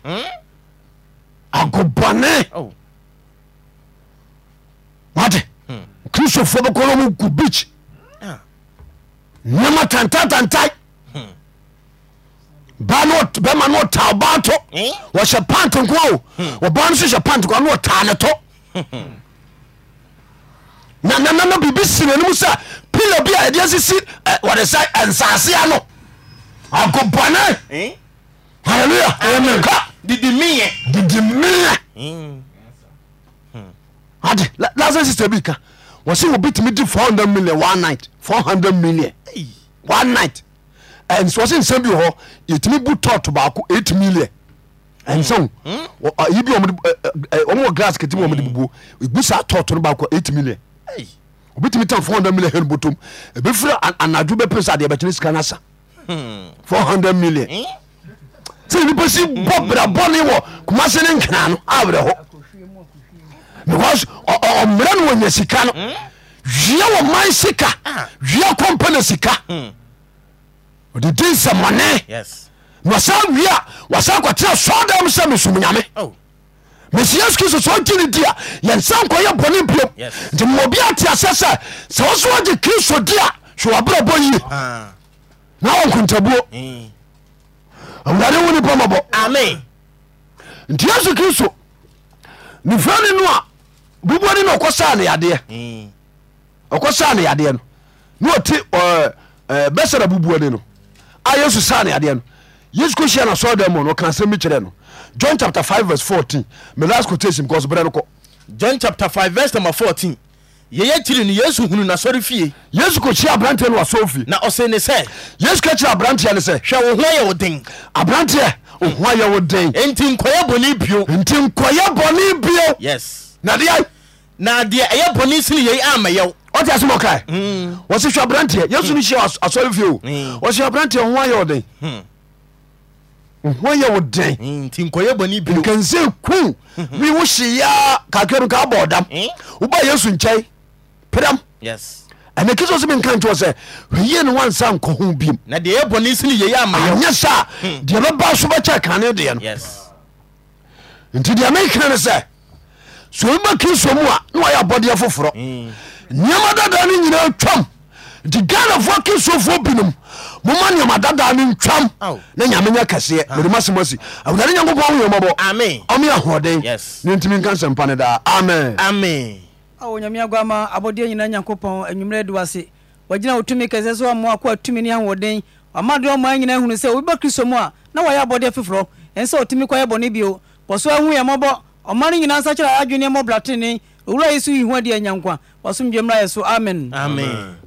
S1: agobɔne
S2: Oh.
S1: wate kristofoɔ bɛkɔrɔ mu gu beach
S2: Hmm. Ah. Hmm.
S1: nema tantatantae ba ne ɔt- bɛma ne ɔtaa ɔba to
S2: Eh? Hmm.
S1: wɔhyɛ pant nkoa o ɔba no so hyɛ pant nkoa ne ɔtaa ne to na na na na biribi si n'anim sɛ pila bi a yɛde asisi ɛ, wɔde sɛ ɛnsaasea no agobɔne
S2: Eh?
S1: halleluya amenka
S2: didi meyɛ
S1: didi mea
S2: Mm.
S1: ade la- lasa sister bi ka wɔse wɔbɛtumi di 400 million one night 400 million
S2: Ei.
S1: one night ɛnso wɔse nsɛm bi wɔ hɔ yɛtumi bu tɔto baako 8 million ɛnsɛn yibi wɔn wɔ uh, glass kete mu wɔn de bubu ibu saa tɔɔtɔ no baako eight million
S2: Hey.
S1: obi tumi tan four hundred million hɛn bɔtɔm ebi fira anadu bɛ pesa adeɛ bɛtɛ ne sika n'asa four hundred million sɛ nipa si bɔ brabɔ ne wɔ kumase ne nkira no awerɛ hɔ
S3: akɔhwie mu akɔhwie mu
S1: because ɔ- ɔ- ɔmmerɛ no wɔnya sika no wia wɔ man sika wia kɔmpa na sika ɔde di nsɛmmɔne
S2: yes
S1: na ɔsan wia wɔsan kɔtera sɔɔdam sɛ mesom nyame
S2: oh
S1: mesi yesu kristo sɛ ɔgye ne di a yɛnsa nkɔyɛ bɔne biom
S2: Yes.
S1: nti mmɔbi ate asɛ sɛ sɛ wo so wɔgye kristo di a hwɛ wɔabrɛbɔ yie
S2: ah
S1: na wɔnkontabuo
S2: mm.
S1: awurade wo nipa mɔbɔ
S2: amen
S1: nti yesu kristo ne frɛ ne no a bubuane na ɔkɔsaa ne yadeɛ
S2: Mm.
S1: ɔkɔsaa ne yadeɛ no na ɔte bɛsɛra bubuane no a yesu saa ne yadeɛ no yesu ko hyia nasɔre dɛ mɔ no ɔka asɛm bi kyerɛ no john chapter 5 verse 14 me last quotation because berɛ no kɔ
S2: john chapter five verse number fourteen yeye kyiri ni yesu hunu n'asɔre fie
S1: yesu ko hyia aberanteɛ no wasɔre fie
S2: na ɔsɛ ne sɛ
S1: yesu ka kyerɛ aberanteɛ no sɛ
S2: hwɛ wo ho yɛ wo den
S1: aberanteɛ oho ayɛ wo den
S2: enti nkɔyɛ bɔne bio
S1: nti nkɔyɛ bɔne bio
S2: yes
S1: na deɛ
S2: na deɛ ɛyɛ bɔne sini yei amɛyɛw
S1: ɔte asɛm ɔkae wɔse hwɛ aberanteɛ yesu no hyia as- asɔre fie o
S2: Mm.
S1: ɔse aberanteɛ oho ayɛ wo den oho ayɛ wo den
S2: nti nkɔyɛ bɔne bio
S1: nkanse ku wi wo hyeya kakra no ka abɔ dam
S2: Mm.
S1: woba yesu nkyɛn pram
S2: yes
S1: ɛne kristo so menka ntoɔ sɛ hwɛyie no wansa nkɔ ho biom
S2: na deɛ ɛyɛ bɔne sini yei amɛyɛw
S1: anyɛ sa a deɛ bɛba so bɛkyɛ kane deɛ no
S2: yes
S1: nti deɛ mekene ne sɛ sɛ obi ba kristo mu a na wayɛ abɔdeɛ
S2: Hmm.
S1: foforɔ
S2: Mm.
S1: nneɛma dadaa no nyinaa twam nti ghanafoɔ kristofoɔ binom moma nneɛma dadaa no
S2: Ao.
S1: ntwam na nyame nyɛ kɛseɛ medemasɛm asi awurade nyankopɔn woyɛmɔbɔ
S2: amen
S1: ɔme ahoɔden
S2: Yes.
S1: ne ntimi nka nsɛmpa ne daa amen
S2: amen
S3: a onyame aguama abɔdeɛ nyina nyankopɔn anwummerɛ de wase wagyina wo tumi kɛsɛ sɛ wammoa ko atumi ne ahoɔden wama de ɔmaa nyina hunu sɛ wobiba kristo mu a na wayɛ abɔdeɛ foforɔ ɛn sɛ ɔtumi kɔyɛ bɔne bio bɔ so ahu yɛ mmɔbɔ ɔma no nyinaa nsa kyerɛ adwene mmɔbra tene owura yi so yi ho adi anyankwa wasomdwe mmra yɛ so amen
S2: amen